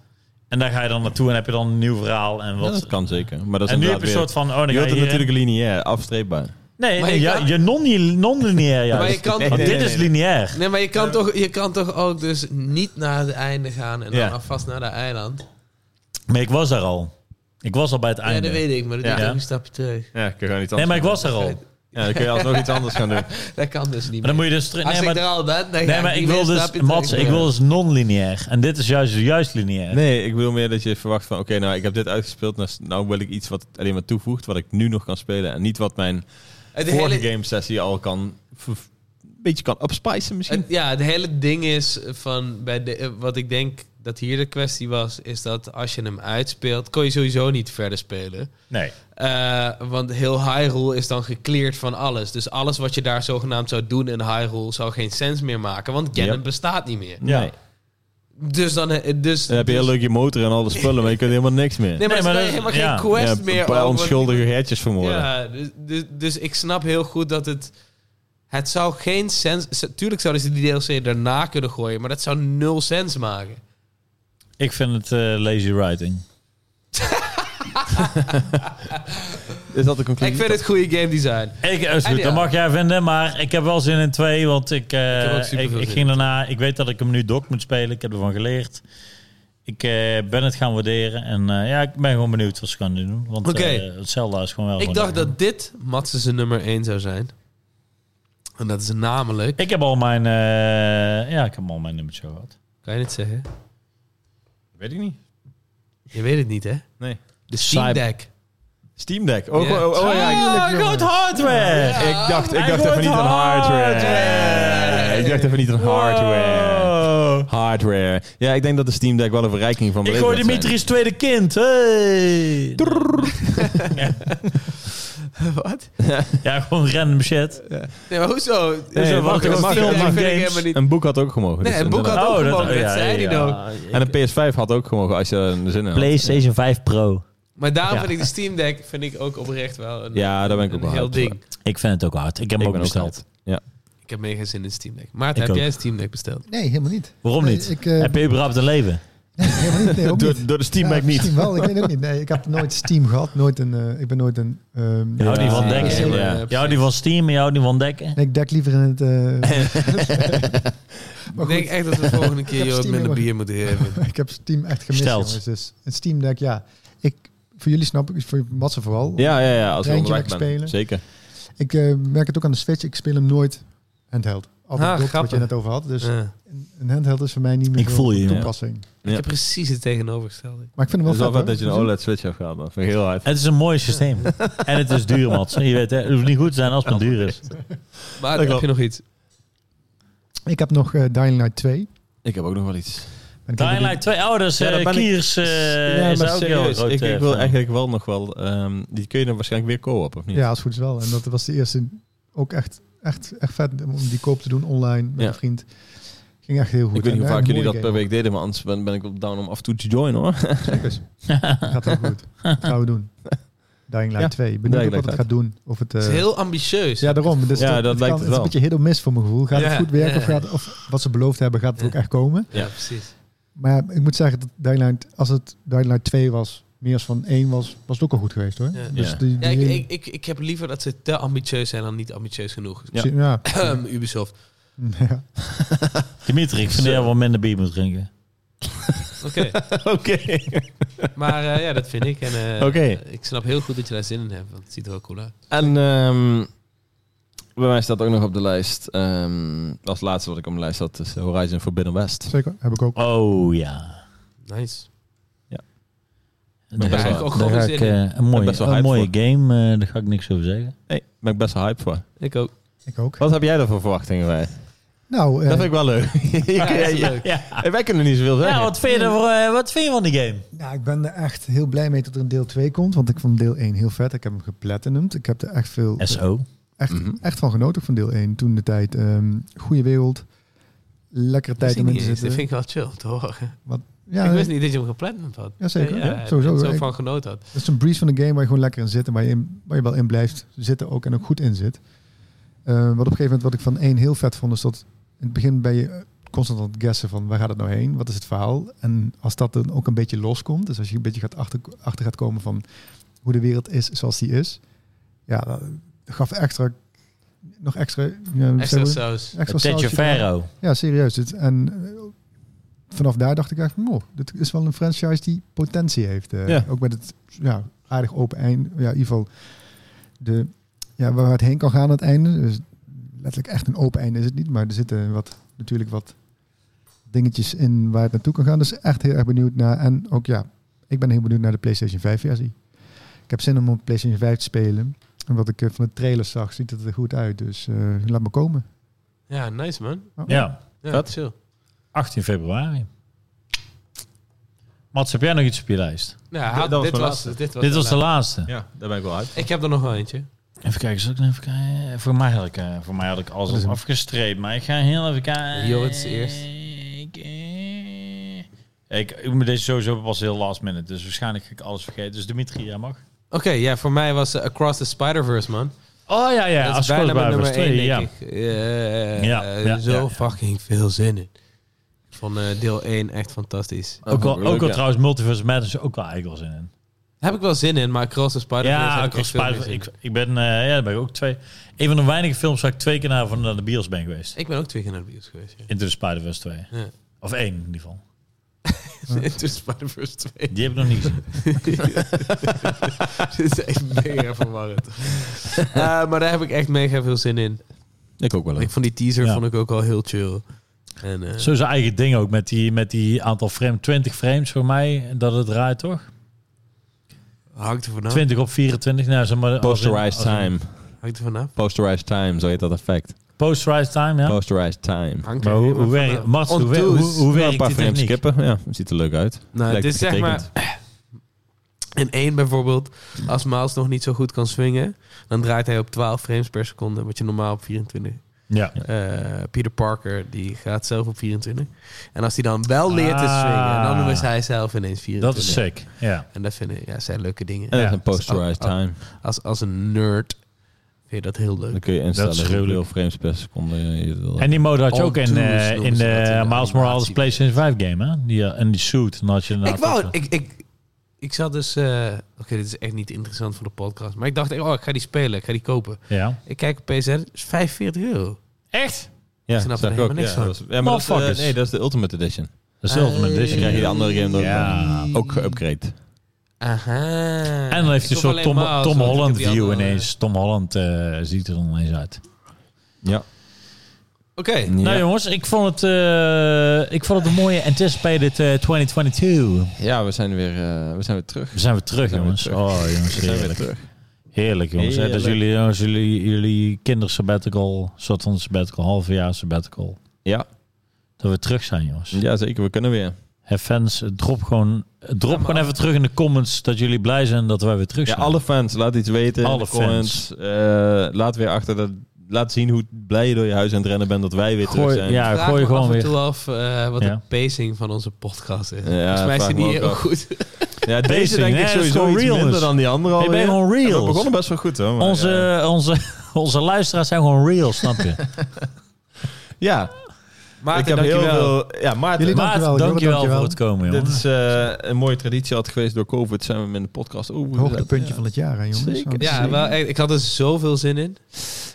Speaker 2: En daar ga je dan naartoe en heb je dan een nieuw verhaal. En,
Speaker 3: Ja,
Speaker 2: wat.
Speaker 3: dat kan zeker. Maar dat is
Speaker 2: en nu heb
Speaker 3: inderdaad
Speaker 2: je een
Speaker 3: weer-
Speaker 2: soort van, oh, dan
Speaker 3: Je
Speaker 2: ga je
Speaker 3: wilt het
Speaker 2: hierheen.
Speaker 3: natuurlijk lineair, afstreepbaar.
Speaker 2: Nee,
Speaker 1: Maar
Speaker 2: nee,
Speaker 1: je
Speaker 2: ja,
Speaker 1: kan-
Speaker 2: je non- non-lineair
Speaker 1: Maar
Speaker 2: juist.
Speaker 1: je kan,
Speaker 3: Nee,
Speaker 2: Want
Speaker 3: nee,
Speaker 2: dit is lineair.
Speaker 1: nee, maar je kan, toch, je kan toch ook dus niet naar het einde gaan en dan
Speaker 3: Ja.
Speaker 1: alvast naar dat eiland?
Speaker 2: Maar ik was daar al. Ik was al bij het
Speaker 1: Ja,
Speaker 2: einde.
Speaker 1: dat weet ik, maar dat
Speaker 3: Ja.
Speaker 1: doe ik ook een stapje terug.
Speaker 3: Ja, kun je gewoon iets
Speaker 2: nee,
Speaker 3: anders
Speaker 2: maar ik
Speaker 3: doen.
Speaker 2: was daar al. Maar
Speaker 3: Ja, dan kun je alsnog iets anders gaan doen.
Speaker 1: Dat kan dus niet
Speaker 2: dan
Speaker 1: meer.
Speaker 2: moet je dus... terug-
Speaker 1: Als
Speaker 2: Nee,
Speaker 1: ik er
Speaker 2: maar,
Speaker 1: al ben, dan ga
Speaker 2: nee, maar
Speaker 1: niet
Speaker 2: ik
Speaker 1: meer
Speaker 2: wil
Speaker 1: een
Speaker 2: dus...
Speaker 1: stapje
Speaker 2: Mats,
Speaker 1: terug
Speaker 2: ik
Speaker 1: doen.
Speaker 2: wil dus non-lineair. En dit is juist, juist lineair.
Speaker 3: Nee, ik bedoel meer dat je verwacht van... Oké, nou, ik heb dit uitgespeeld. Nou, s- nou wil ik iets wat alleen maar toevoegt. Wat ik nu nog kan spelen. En niet wat mijn
Speaker 1: Het
Speaker 3: vorige
Speaker 1: hele-
Speaker 3: game sessie al kan... v- Een beetje kan upspicen misschien.
Speaker 1: Het- ja, het hele ding is van bij de, eh, wat ik denk dat hier de kwestie was, is dat als je hem uitspeelt, kon je sowieso niet verder spelen.
Speaker 2: Nee.
Speaker 1: Eh, want heel Hyrule is dan gecleared van alles. Dus alles wat je daar zogenaamd zou doen in Hyrule zou geen sens meer maken, want Ganon
Speaker 3: Yep.
Speaker 1: bestaat niet meer.
Speaker 2: Ja.
Speaker 3: Nee.
Speaker 1: Dus dan, eh, dus,
Speaker 3: Dan heb je heel
Speaker 1: dus-
Speaker 3: leuk je motor en al de spullen, maar je kunt helemaal niks meer.
Speaker 1: Nee, maar,
Speaker 2: Nee,
Speaker 1: dan
Speaker 2: maar
Speaker 1: speel je
Speaker 2: dat-
Speaker 1: helemaal
Speaker 2: ja.
Speaker 1: geen quest
Speaker 3: Ja,
Speaker 1: meer.
Speaker 3: een paar
Speaker 1: over-
Speaker 3: onschuldige hertjes vermoorden.
Speaker 1: Ja, dus, dus, dus ik snap heel goed dat het... Het zou geen sens... z- Tuurlijk zouden ze die DLC daarna kunnen gooien, maar dat zou nul sens maken.
Speaker 2: Ik vind het eh, lazy writing.
Speaker 3: Is dat de
Speaker 1: Ik
Speaker 3: conclusie?
Speaker 1: vind het goede game design.
Speaker 2: Ik, eh, is goed,
Speaker 1: ja.
Speaker 2: dat mag jij vinden, maar ik heb wel zin in twee, want ik, eh,
Speaker 1: heb ook
Speaker 2: ik,
Speaker 1: superveel
Speaker 2: ik,
Speaker 1: zin
Speaker 2: ging daarna, ik weet dat ik hem nu doc moet spelen, ik heb ervan geleerd. Ik eh, ben het gaan waarderen en eh, ja, ik ben gewoon benieuwd wat ze gaan doen. Want
Speaker 1: Oké.
Speaker 2: eh, het Zelda is gewoon wel...
Speaker 1: Ik
Speaker 2: gewoon
Speaker 1: dacht
Speaker 2: leuk.
Speaker 1: dat dit Matsen zijn nummer 1 zou zijn. En dat is namelijk...
Speaker 2: Ik heb al mijn... eh, ja, ik heb al mijn nummertje gehad.
Speaker 1: Kan je het zeggen?
Speaker 3: Weet ik niet.
Speaker 1: Je weet het niet, hè?
Speaker 3: Nee.
Speaker 1: De Steam
Speaker 2: Cyber-
Speaker 1: Deck.
Speaker 3: Steam Deck. Oh,
Speaker 1: Ja. Ah.
Speaker 3: oh, oh, ja.
Speaker 2: Ah, goed hardware!
Speaker 3: Ik dacht, ik
Speaker 2: Hij
Speaker 3: dacht even
Speaker 2: wordt
Speaker 3: niet aan hardware.
Speaker 2: hardware.
Speaker 3: Ik dacht even niet aan hardware.
Speaker 2: Wow.
Speaker 3: Hardware. Ja, ik denk dat de Steam Deck wel een verrijking van
Speaker 2: Ik
Speaker 3: beleven
Speaker 2: hoor
Speaker 3: gaat zijn.
Speaker 2: Dimitri's tweede kind. Hey.
Speaker 1: Wat?
Speaker 2: Ja, gewoon random shit.
Speaker 1: Nee, maar hoezo?
Speaker 3: Nee,
Speaker 1: Hoezo?
Speaker 2: dat
Speaker 3: mag-
Speaker 1: Want
Speaker 2: ook
Speaker 1: de
Speaker 3: mag-
Speaker 2: een
Speaker 1: Steam
Speaker 2: film,
Speaker 1: Deck
Speaker 2: mag
Speaker 1: vind ik
Speaker 2: games.
Speaker 1: helemaal niet-
Speaker 3: Een boek had ook gemogen.
Speaker 1: Nee,
Speaker 3: dus
Speaker 1: een boek
Speaker 3: inderdaad.
Speaker 1: had- ook gewoon, dat
Speaker 2: ja,
Speaker 1: zei
Speaker 2: ja,
Speaker 1: hij
Speaker 2: ja.
Speaker 3: En een PS5 had ook gemogen als je er zin in had.
Speaker 2: PlayStation 5 Pro.
Speaker 1: Maar daarom
Speaker 2: Ja.
Speaker 1: vind ik de Steam Deck vind ik ook oprecht wel een,
Speaker 3: Ja, daar ben ik ook
Speaker 1: een
Speaker 3: wel
Speaker 1: heel
Speaker 3: hard
Speaker 1: ding.
Speaker 3: voor.
Speaker 2: Ik vind het ook hard. Ik heb hem
Speaker 3: Ik
Speaker 2: ook
Speaker 3: ben ook
Speaker 2: besteld.
Speaker 3: hard.
Speaker 1: Ik heb mega zin in Steam Deck. Maarten,
Speaker 2: Ik
Speaker 1: heb
Speaker 2: ook.
Speaker 1: jij Steam Deck besteld?
Speaker 4: Nee, helemaal niet.
Speaker 2: Waarom
Speaker 4: Nee,
Speaker 2: niet?
Speaker 4: Ik, eh,
Speaker 2: Heb je überhaupt een leven?
Speaker 4: nee, helemaal niet. Nee, ook niet.
Speaker 3: Door, door de Steam
Speaker 4: Ja,
Speaker 3: Deck niet.
Speaker 4: Misschien wel, ik weet ook niet. Nee, ik heb nooit Steam gehad. Nooit een, eh, ik ben nooit een... ehm,
Speaker 2: Je houdt niet van
Speaker 3: Ja.
Speaker 2: dekken.
Speaker 3: Ja.
Speaker 2: Je houdt niet van Steam en je houdt niet van dekken.
Speaker 4: Nee, ik dek liever in het... eh maar
Speaker 1: Ik
Speaker 4: goed,
Speaker 1: denk echt dat we volgende keer
Speaker 4: heb
Speaker 1: jou
Speaker 4: Steam
Speaker 1: minder
Speaker 4: helemaal-
Speaker 1: bier moeten geven.
Speaker 4: ik heb Steam echt gemist,
Speaker 2: Stelt.
Speaker 4: jongens. Dus een Steam Deck, ja. Ik, voor jullie snap ik, voor Matze vooral.
Speaker 3: Ja, ja, ja. Als je
Speaker 4: Treintje
Speaker 3: onderweg bent.
Speaker 4: lekker spelen.
Speaker 3: Zeker.
Speaker 4: Ik eh, merk het ook aan de Switch. Ik speel hem nooit handheld. Altijd
Speaker 1: Ah,
Speaker 4: dock, wat je
Speaker 1: grappig.
Speaker 4: net over had. Dus
Speaker 1: Ja.
Speaker 4: een, een handheld is voor mij niet meer
Speaker 2: Ik
Speaker 4: veel
Speaker 2: voel je, ja.
Speaker 4: toepassing.
Speaker 1: Ik heb precies het tegenovergestelde.
Speaker 4: Maar ik vind hem wel
Speaker 3: Het is wel
Speaker 4: vet,
Speaker 3: vet dat je een
Speaker 4: hoor.
Speaker 3: OLED Switch hebt gehad. Dat vind ik heel hard.
Speaker 2: Het is een mooi systeem. en het is duur, Mats. Je weet, hè, het hoeft niet goed te zijn als het maar duur is.
Speaker 1: Maar heb je nog iets?
Speaker 4: Ik heb nog eh Dying Light 2.
Speaker 3: Ik heb ook nog wel iets.
Speaker 4: En ik heb
Speaker 2: Dying
Speaker 4: ook-
Speaker 2: Light 2. Oh, dat is
Speaker 3: Ja, dat
Speaker 2: eh,
Speaker 3: ben ik-
Speaker 2: Kiers. eh,
Speaker 3: Ja,
Speaker 2: is
Speaker 3: maar
Speaker 2: daar ook heel
Speaker 3: serieus,
Speaker 2: groot,
Speaker 3: ik,
Speaker 2: eh,
Speaker 3: ik wil
Speaker 2: van.
Speaker 3: eigenlijk wel nog wel... ehm, die kun je dan waarschijnlijk weer co-op, of niet?
Speaker 4: Ja, als het goed is wel. En dat was de eerste ook echt, echt, echt vet om die koop te doen online met
Speaker 3: Ja.
Speaker 4: een vriend. Ging echt heel goed.
Speaker 3: Ik weet niet
Speaker 4: En,
Speaker 3: hoe
Speaker 4: eh,
Speaker 3: vaak
Speaker 4: een
Speaker 3: jullie dat
Speaker 4: mooie
Speaker 3: per week deden, maar anders ben, ben ik op down om af en toe te joinen hoor.
Speaker 4: game. Zeker. gaat wel goed. Dat gaan we doen. Dying Light
Speaker 3: Ja,
Speaker 4: 2.
Speaker 3: Dying
Speaker 4: Benieuwd ook
Speaker 3: Light
Speaker 4: wat het
Speaker 3: uit.
Speaker 4: gaat doen. Of het,
Speaker 1: Het
Speaker 4: eh,
Speaker 1: is heel ambitieus.
Speaker 4: ja, daarom. Dus
Speaker 3: Ja, dat lijkt
Speaker 4: kan-
Speaker 3: het wel.
Speaker 4: is een beetje hit of miss voor mijn gevoel. Gaat
Speaker 1: Ja.
Speaker 4: het goed werken of,
Speaker 1: Ja.
Speaker 4: gaat, of wat ze beloofd hebben, gaat het
Speaker 1: Ja.
Speaker 4: ook echt komen?
Speaker 1: Ja,
Speaker 3: Ja.
Speaker 1: precies.
Speaker 4: Maar ik moet zeggen, dat Dying Light, als het Dying Light 2 was, meer als van 1 was, was het ook al goed geweest hoor.
Speaker 1: Ja.
Speaker 4: Dus
Speaker 3: Ja.
Speaker 4: die,
Speaker 1: Ja,
Speaker 4: die hele-
Speaker 1: ik, ik, ik, ik heb liever dat ze te ambitieus zijn dan niet ambitieus genoeg. Um,
Speaker 3: Ja.
Speaker 4: ja.
Speaker 1: Ubisoft.
Speaker 4: Ja.
Speaker 2: Dimitri, ik vind dat jij wel minder bier moet drinken.
Speaker 1: Oké.
Speaker 3: Oké.
Speaker 1: Maar eh, ja, dat vind ik. En, eh,
Speaker 3: Oké.
Speaker 1: Ik snap heel goed dat je daar zin in hebt, want het ziet er ook cool uit.
Speaker 3: En ehm, bij mij staat ook nog op de lijst, ehm, als laatste wat ik op de lijst had, is Horizon Forbidden West.
Speaker 4: Zeker, heb ik ook.
Speaker 2: Oh ja.
Speaker 1: Nice.
Speaker 2: Daar
Speaker 3: best
Speaker 2: ga
Speaker 3: wel-
Speaker 2: ik
Speaker 1: ook
Speaker 2: daar
Speaker 1: gewoon
Speaker 2: ga
Speaker 1: zin
Speaker 2: ik,
Speaker 1: in.
Speaker 2: eh, een mooie,
Speaker 3: best wel
Speaker 2: een
Speaker 3: hype
Speaker 2: mooie game, eh, daar ga ik niks over zeggen.
Speaker 3: Nee, ben ik best wel hyped voor.
Speaker 1: Ik ook.
Speaker 4: Ik ook.
Speaker 3: Wat heb jij daar voor verwachtingen bij?
Speaker 4: Nou, eh,
Speaker 3: Dat vind ik wel leuk.
Speaker 1: Ah, Ja,
Speaker 3: Ja,
Speaker 1: is
Speaker 3: ja.
Speaker 1: leuk.
Speaker 3: Hey, Wij kunnen niet zoveel zeggen.
Speaker 2: Ja, wat vind, je er, eh, wat vind je van die game?
Speaker 4: nou, ik ben er echt heel blij mee dat er een deel 2 komt. Want ik vond deel 1 heel vet. Ik heb hem geplatinumd. Ik heb er echt veel...
Speaker 2: SO.
Speaker 4: echt,
Speaker 3: Mhm.
Speaker 4: echt van genoten ook van deel 1. Toen de tijd, ehm goede wereld, lekkere tijd om in te
Speaker 1: dat
Speaker 4: zitten.
Speaker 1: vind ik wel chill om te horen.
Speaker 4: ja,
Speaker 1: ik wist niet dat je hem gepland had.
Speaker 4: Ja, zeker.
Speaker 1: Nee,
Speaker 4: Ja, sowieso.
Speaker 1: dat ik Zo
Speaker 4: Ik-
Speaker 1: van genoten had.
Speaker 4: Dat is een breeze van de game waar je gewoon lekker in zit en waar je, in- waar je wel in blijft zitten ook en ook goed in zit. Eh, wat op een gegeven moment wat ik van één heel vet vond, is dat in het begin ben je eh, constant aan het guessen van waar gaat het nou heen? Wat is het verhaal? En als dat dan ook een beetje loskomt, dus als je een beetje gaat achter, achter gaat komen van hoe de wereld is zoals die is, ja, dat gaf extra, nog extra... Ja, hoe zeggen
Speaker 1: Extra
Speaker 4: we?
Speaker 1: saus.
Speaker 4: Extra
Speaker 2: Tedje
Speaker 4: sausje.
Speaker 2: Ferro.
Speaker 4: Ja, serieus. Dit, en eh, vanaf daar dacht ik echt, van, oh, dit is wel een franchise die potentie heeft. eh.
Speaker 3: Ja.
Speaker 4: Ook met het ja, aardig open eind. Ja, in ieder geval de, ja, waar het heen kan gaan aan het einde. Dus letterlijk echt een open einde is het niet, maar er zitten wat, natuurlijk wat dingetjes in waar het naartoe kan gaan. Dus echt heel erg benieuwd naar. En ook ja, ik ben heel benieuwd naar de PlayStation 5 versie. Ik heb zin om op PlayStation 5 te spelen. En wat ik eh, van de trailer zag, ziet het er goed uit. Dus eh, laat me komen.
Speaker 1: Ja, nice man.
Speaker 2: Ja,
Speaker 1: Ja,
Speaker 3: Vet.
Speaker 1: chill.
Speaker 2: 18 februari. Mats, heb jij nog iets op je lijst?
Speaker 1: Ja,
Speaker 3: dat
Speaker 1: had-
Speaker 3: was
Speaker 1: dit,
Speaker 3: mijn
Speaker 1: was,
Speaker 3: laatste.
Speaker 1: dit was
Speaker 2: Dit
Speaker 1: de
Speaker 2: was de
Speaker 1: laatste.
Speaker 2: laatste.
Speaker 3: Ja, daar ben ik wel uit.
Speaker 1: Ik heb er nog wel eentje.
Speaker 2: Even kijken, zal ik nog even kijken? Voor mij had ik, eh, voor mij had ik alles
Speaker 4: Dat is
Speaker 2: al
Speaker 4: hem.
Speaker 2: afgestreept, maar ik ga heel even kijken.
Speaker 1: Jorrit eerst.
Speaker 2: Ik, eh, ik, ik moet deze sowieso pas heel last minute, dus waarschijnlijk ga ik alles vergeten. Dus Dimitri, jij mag.
Speaker 1: Oké, ja, voor mij was eh, Across the Spider-Verse, man.
Speaker 2: Oh ja, ja,
Speaker 1: dat
Speaker 2: als
Speaker 1: is bijna mijn nummer
Speaker 2: twee,
Speaker 1: één, denk
Speaker 2: ja.
Speaker 1: ik. Eh,
Speaker 2: Ja,
Speaker 1: eh,
Speaker 2: ja,
Speaker 1: zo
Speaker 2: ja, ja.
Speaker 1: fucking veel zin in. Van eh, deel 1 echt fantastisch.
Speaker 2: Ook al,
Speaker 3: Oh, Leuk,
Speaker 2: ook al
Speaker 3: ja.
Speaker 2: trouwens, Multiverse Madness ook wel eigenlijk wel zin
Speaker 1: Oh,
Speaker 2: in.
Speaker 1: Heb ik wel zin in, maar Across the Spider-Verse
Speaker 2: Ja,
Speaker 1: heb
Speaker 2: ik,
Speaker 1: ik echt veel meer zin
Speaker 2: ik,
Speaker 1: in.
Speaker 2: ik ben, eh, ja, daar ben ik ook twee. Een van de weinige films waar ik twee keer naar, van, naar de bios ben geweest.
Speaker 1: Ik ben ook twee keer naar de bios geweest. Ja.
Speaker 2: Into the Spider-Verse 2.
Speaker 1: Ja.
Speaker 2: Of één in ieder geval.
Speaker 1: Into Spider-Verse 2.
Speaker 2: Die heb ik nog niet gezien.
Speaker 1: Dit is echt mega verwarrend. Eh, maar daar heb ik echt mega veel zin in.
Speaker 3: Ik ook wel
Speaker 1: Ik vond die teaser
Speaker 2: Ja.
Speaker 1: vond ik ook al heel chill. En, eh,
Speaker 2: Zo zijn eigen ding ook met die, met die aantal frames. 20 frames voor mij dat het draait, toch?
Speaker 1: hangt er vanaf.
Speaker 2: 20 op 24. Nou, zeg maar, als in-
Speaker 3: Posterized
Speaker 2: als in-
Speaker 3: time.
Speaker 1: Hangt er vanaf.
Speaker 3: Posterized time, zo heet dat effect.
Speaker 2: Posterized time, ja.
Speaker 3: Posterized time.
Speaker 1: Hangt
Speaker 2: maar
Speaker 1: er
Speaker 2: hoe,
Speaker 1: helemaal
Speaker 2: hoe, werkt,
Speaker 1: vanaf.
Speaker 2: Mats, hoe,
Speaker 1: On
Speaker 2: wer-
Speaker 1: toes.
Speaker 2: hoe, hoe
Speaker 3: Wel
Speaker 2: werkt
Speaker 3: een paar
Speaker 2: die
Speaker 3: frames
Speaker 2: techniek?
Speaker 3: skippen. Ja, ziet er leuk uit.
Speaker 1: Nou,
Speaker 3: Lijkt
Speaker 1: dit is zeg
Speaker 3: getekend.
Speaker 1: maar... In één bijvoorbeeld, als Miles nog niet zo goed kan swingen, dan draait hij op 12 frames per seconde, wat je normaal op 24.
Speaker 2: Ja.
Speaker 1: Eh, Peter Parker, die gaat zelf op 24. En als hij dan wel leert te
Speaker 2: Ah.
Speaker 1: swingen, dan is hij zelf ineens 24.
Speaker 2: Dat is sick. Ja.
Speaker 1: En dat vind ik, ja, zijn leuke dingen.
Speaker 3: En dat
Speaker 2: Ja. Ah,
Speaker 3: is een posterized
Speaker 1: Als- als-
Speaker 3: time.
Speaker 1: Als, als een nerd vind je dat heel leuk.
Speaker 3: Dan kun je instellen
Speaker 2: Dat is
Speaker 3: hoeveel
Speaker 2: gruwelijk.
Speaker 3: frames per seconde je wil.
Speaker 2: En die mode had je
Speaker 1: On
Speaker 2: ook in,
Speaker 1: toes
Speaker 2: eh,
Speaker 1: noemen
Speaker 2: in
Speaker 1: ze dat in de
Speaker 2: de Miles
Speaker 1: animatie.
Speaker 2: Morales PlayStation 5 game, hè? Die, eh, en die suit. dan had je
Speaker 1: ik
Speaker 2: inderdaad
Speaker 1: wou,
Speaker 2: ook-
Speaker 1: ik, ik, ik zat dus, eh, oké, dit is echt niet interessant voor de podcast, maar ik dacht, oh, ik ga die spelen, ik ga die kopen.
Speaker 2: eh, Ja.
Speaker 1: Ik kijk op PSN, het is 45 euro.
Speaker 2: Echt?
Speaker 3: ja,
Speaker 1: snap er
Speaker 3: zag ik
Speaker 1: helemaal
Speaker 3: ook.
Speaker 1: niks
Speaker 3: ja,
Speaker 1: van.
Speaker 3: dat is- ja, maar dat is, eh,
Speaker 2: Motherfuckers.
Speaker 3: nee, dat is de Ultimate Edition.
Speaker 2: Dat is de Ultimate
Speaker 3: Dan
Speaker 2: Edition.
Speaker 3: krijg je de
Speaker 2: Ja.
Speaker 3: andere game dan
Speaker 2: Ja.
Speaker 3: ook geüpgrade.
Speaker 1: Aha.
Speaker 2: En dan heeft hij
Speaker 1: Ik hoef
Speaker 2: zo'n
Speaker 1: alleen
Speaker 2: Tom,
Speaker 1: Miles,
Speaker 2: Tom
Speaker 1: want ik
Speaker 2: Holland
Speaker 1: heb die
Speaker 2: view
Speaker 1: andere-
Speaker 2: ineens. Tom Holland eh, ziet er dan ineens uit.
Speaker 3: Ja.
Speaker 1: Oké,
Speaker 3: eh,
Speaker 2: Nou jongens, ik vond het, eh, ik vond het een mooie anticipated eh, 2022.
Speaker 3: ja, we zijn weer, eh, we zijn weer terug.
Speaker 2: We zijn weer terug,
Speaker 3: We zijn
Speaker 2: jongens.
Speaker 3: weer terug.
Speaker 2: Oh, jongens,
Speaker 3: We zijn weer
Speaker 2: heerlijk.
Speaker 3: terug.
Speaker 2: Heerlijk, jongens. hè. Dus
Speaker 3: Heerlijk.
Speaker 2: jullie, jongens, jullie, jullie kindersabbatical, soort van sabbatical, halfjaar sabbatical.
Speaker 3: Ja,
Speaker 2: Dat we terug zijn, jongens.
Speaker 3: ja, zeker. We kunnen weer.
Speaker 2: Have fans, drop gewoon, drop gewoon even terug in de comments dat jullie blij zijn dat wij weer terug
Speaker 3: Ja,
Speaker 2: zijn.
Speaker 3: alle fans, laat iets weten. in
Speaker 2: Alle
Speaker 3: de comments. Eh, laat weer achter dat. Laat zien hoe blij je door je huis aan het rennen bent dat wij weer terug
Speaker 2: gooi,
Speaker 3: zijn.
Speaker 2: ja,
Speaker 1: vraag
Speaker 2: gooi
Speaker 1: me
Speaker 2: gewoon
Speaker 1: af en
Speaker 2: weer.
Speaker 1: toe af eh, wat
Speaker 2: Ja.
Speaker 1: de pacing van onze podcast is.
Speaker 3: Ja,
Speaker 1: Volgens mij is
Speaker 3: vraag
Speaker 1: die
Speaker 3: me
Speaker 1: niet
Speaker 3: ook
Speaker 1: heel
Speaker 3: af.
Speaker 1: goed.
Speaker 3: Ja, deze
Speaker 2: Pacing,
Speaker 3: denk
Speaker 2: hè,
Speaker 3: ik
Speaker 2: dat is
Speaker 3: sowieso
Speaker 2: gewoon
Speaker 3: iets
Speaker 2: realness.
Speaker 3: minder dan die andere
Speaker 2: Ik
Speaker 3: alweer.
Speaker 2: ben gewoon
Speaker 3: En
Speaker 2: real.
Speaker 3: We begonnen best wel goed hoor. maar, eh,
Speaker 2: Onze, onze, onze luisteraars zijn gewoon real, snap je?
Speaker 3: eh, ja,
Speaker 1: Maarten,
Speaker 3: ik heb heel
Speaker 1: dankjewel.
Speaker 3: veel... Ja, Maarten,
Speaker 4: Jullie
Speaker 2: Maar
Speaker 4: Dankjewel,
Speaker 2: dankjewel,
Speaker 4: jongen, dankjewel.
Speaker 2: voor het komen, jongen.
Speaker 3: dit is eh, een mooie traditie had geweest door COVID. Zijn we hem in de podcast overgezet.
Speaker 4: Hoogtepuntje
Speaker 3: ja.
Speaker 4: van het jaar, hè, jongens.
Speaker 3: Zeker.
Speaker 4: Want- eh,
Speaker 1: Ja, wel, echt, ik had er zoveel zin in.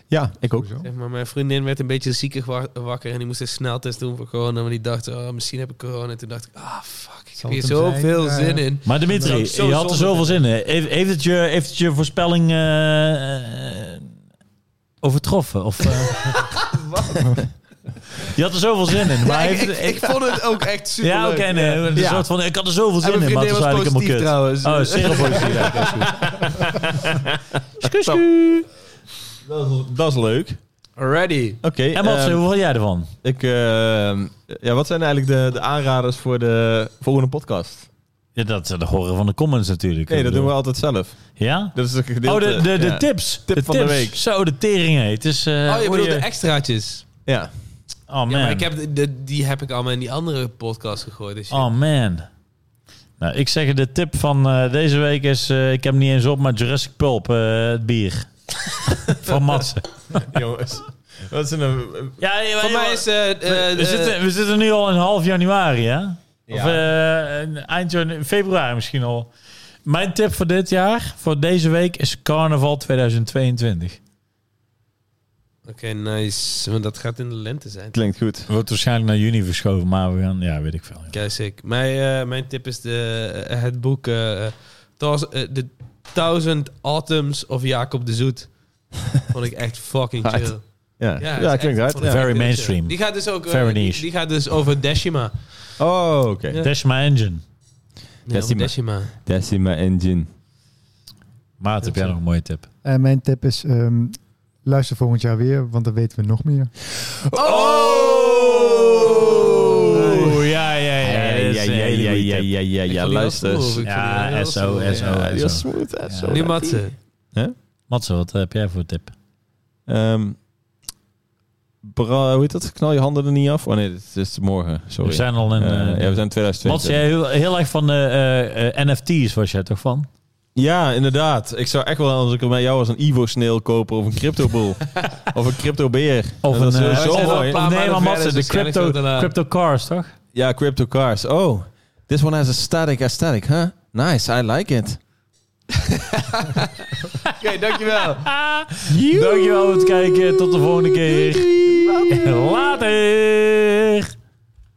Speaker 3: Ja, ik ook.
Speaker 4: Sowieso.
Speaker 1: Zeg maar, mijn vriendin werd een beetje ziekig wa- wakker en die moest een sneltest doen voor corona. Maar die dacht, oh, misschien heb ik corona. En toen dacht ik, ah, fuck, ik heb
Speaker 4: Zal
Speaker 1: hier
Speaker 4: het hem
Speaker 1: zoveel
Speaker 4: zijn?
Speaker 1: zin
Speaker 4: Ja.
Speaker 1: in.
Speaker 2: Maar Dimitri,
Speaker 1: Dat is ook
Speaker 2: je
Speaker 1: zo
Speaker 2: had er
Speaker 1: zonde.
Speaker 2: zoveel zin in. Heeft, heeft, het, je, heeft het je voorspelling eh, eh, overtroffen? Of, eh, Je had er zoveel zin in. Maar
Speaker 1: Ja,
Speaker 2: hij
Speaker 1: ik,
Speaker 2: heeft,
Speaker 1: ik, ik vond het ook echt super
Speaker 2: ja, oké. nee, een
Speaker 1: Ja.
Speaker 2: soort van, ik had er zoveel zin
Speaker 1: En mijn
Speaker 2: in, maar het
Speaker 1: vriendin
Speaker 2: was eigenlijk
Speaker 1: was positief
Speaker 2: helemaal
Speaker 1: trouwens. dus-
Speaker 2: kut. Oh, zeer positief. ja, oké, is goed.
Speaker 3: Dat is, dat is leuk.
Speaker 1: Already.
Speaker 3: Oké.
Speaker 2: En wat,
Speaker 3: ehm,
Speaker 2: hoe vond jij ervan?
Speaker 3: ik, ehm, ja, wat zijn eigenlijk de, de aanraders voor de volgende podcast?
Speaker 2: Ja, dat is de horen van de comments natuurlijk.
Speaker 3: Nee,
Speaker 2: Ik
Speaker 3: dat doen we
Speaker 2: bedoel.
Speaker 3: altijd zelf.
Speaker 2: Ja?
Speaker 3: Dat is een gedeelte,
Speaker 2: Oh, de,
Speaker 1: eh,
Speaker 2: de, de
Speaker 3: ja.
Speaker 2: tips.
Speaker 3: Tip
Speaker 2: de
Speaker 3: van de
Speaker 2: tips.
Speaker 3: week.
Speaker 2: Zo, de tering heet. Dus, eh,
Speaker 1: Oh, je
Speaker 2: hoe
Speaker 1: bedoelt de extraatjes.
Speaker 3: Ja.
Speaker 2: Oh man.
Speaker 1: Ja, maar ik heb de, de- die heb ik allemaal in die andere podcast gegooid. Dus
Speaker 2: Oh man. Nou, ik zeg de tip van eh, deze week is... eh, ik heb hem niet eens op, maar Jurassic Pulp, eh, het bier. van Matsen.
Speaker 3: Jongens. Wat is nou- een...
Speaker 2: Ja, ja,
Speaker 1: Voor
Speaker 2: ja,
Speaker 1: mij is... eh, eh,
Speaker 2: we, we
Speaker 1: eh,
Speaker 2: zitten, we zitten nu al in half januari, hè? Of
Speaker 3: Ja.
Speaker 2: eh, een- eind janu- februari misschien al. Mijn tip voor dit jaar, voor deze week, is Carnaval 2022.
Speaker 1: Oké, nice. Want dat gaat in de lente zijn.
Speaker 3: Klinkt goed.
Speaker 2: Wordt waarschijnlijk naar juni verschoven, maar we gaan... Ja, weet ik veel. ja.
Speaker 1: Kijk, sick. Mijn, eh, mijn tip is de, eh, het boek... eh, eh, Thous- eh, The Thousand Autumns of Jacob de Zoet. Vond ik echt fucking
Speaker 3: Hard.
Speaker 1: chill.
Speaker 3: Ja,
Speaker 1: Ja,
Speaker 3: ja,
Speaker 1: is echt-
Speaker 3: klinkt uit.
Speaker 1: vond ik
Speaker 3: ja.
Speaker 2: Very
Speaker 1: echt heel
Speaker 2: mainstream.
Speaker 1: chill. Die gaat dus ook eh,
Speaker 2: Very
Speaker 1: die-
Speaker 2: niche.
Speaker 1: Die gaat dus over Decima.
Speaker 3: Oh, oké.
Speaker 1: Ja.
Speaker 2: Dash My Engine.
Speaker 1: Ja, over
Speaker 3: Decima.
Speaker 1: Decima.
Speaker 3: Decima Engine.
Speaker 2: Maat, heb jij nog een mooie tip?
Speaker 4: En mijn tip is, ehm, luister volgend jaar weer, want dan weten we nog meer.
Speaker 3: Oh!
Speaker 2: Oeh, ja, ja,
Speaker 3: Ja,
Speaker 2: ja.
Speaker 3: ja, ja, ja,
Speaker 2: ja.
Speaker 3: ja, ja, ja,
Speaker 1: Ik vond
Speaker 3: ja,
Speaker 1: die wel
Speaker 3: luister.
Speaker 1: cool, ik vond die
Speaker 2: Ja,
Speaker 1: wel
Speaker 2: SO,
Speaker 1: cool, ja.
Speaker 2: SO. Ja, die was
Speaker 3: smooth.
Speaker 2: zo
Speaker 1: Nu Matze.
Speaker 2: Matze, wat eh, heb jij voor tip?
Speaker 3: Ehm, bra, hoe heet dat? Knal je handen er niet af? Oh nee, dit is morgen. Sorry.
Speaker 2: We zijn al in...
Speaker 3: Eh,
Speaker 2: eh,
Speaker 3: ja, we zijn
Speaker 2: Mats,
Speaker 3: 2020.
Speaker 2: jij heel, heel erg van de eh, eh, NFT's was jij toch van?
Speaker 3: Ja, inderdaad. Ik zou echt wel, als ik er bij jou was, een Ivo-sneel kopen of een crypto-boel. of een crypto-beer.
Speaker 2: Of
Speaker 3: En dat
Speaker 2: een... eh,
Speaker 3: is sowieso
Speaker 1: zijn wel
Speaker 3: mooi.
Speaker 1: een paar
Speaker 2: of nee, maar
Speaker 1: maanden verder,
Speaker 2: Matze, de
Speaker 1: dus waarschijnlijk
Speaker 2: crypto,
Speaker 1: wordt daarna-
Speaker 2: crypto cars, toch?
Speaker 3: Ja, crypto cars. Oh, this one has a static aesthetic, huh? Nice, I like it.
Speaker 1: Oké, dankjewel. Ah.
Speaker 2: eh, Dankjewel voor het kijken. Tot de volgende keer. Later.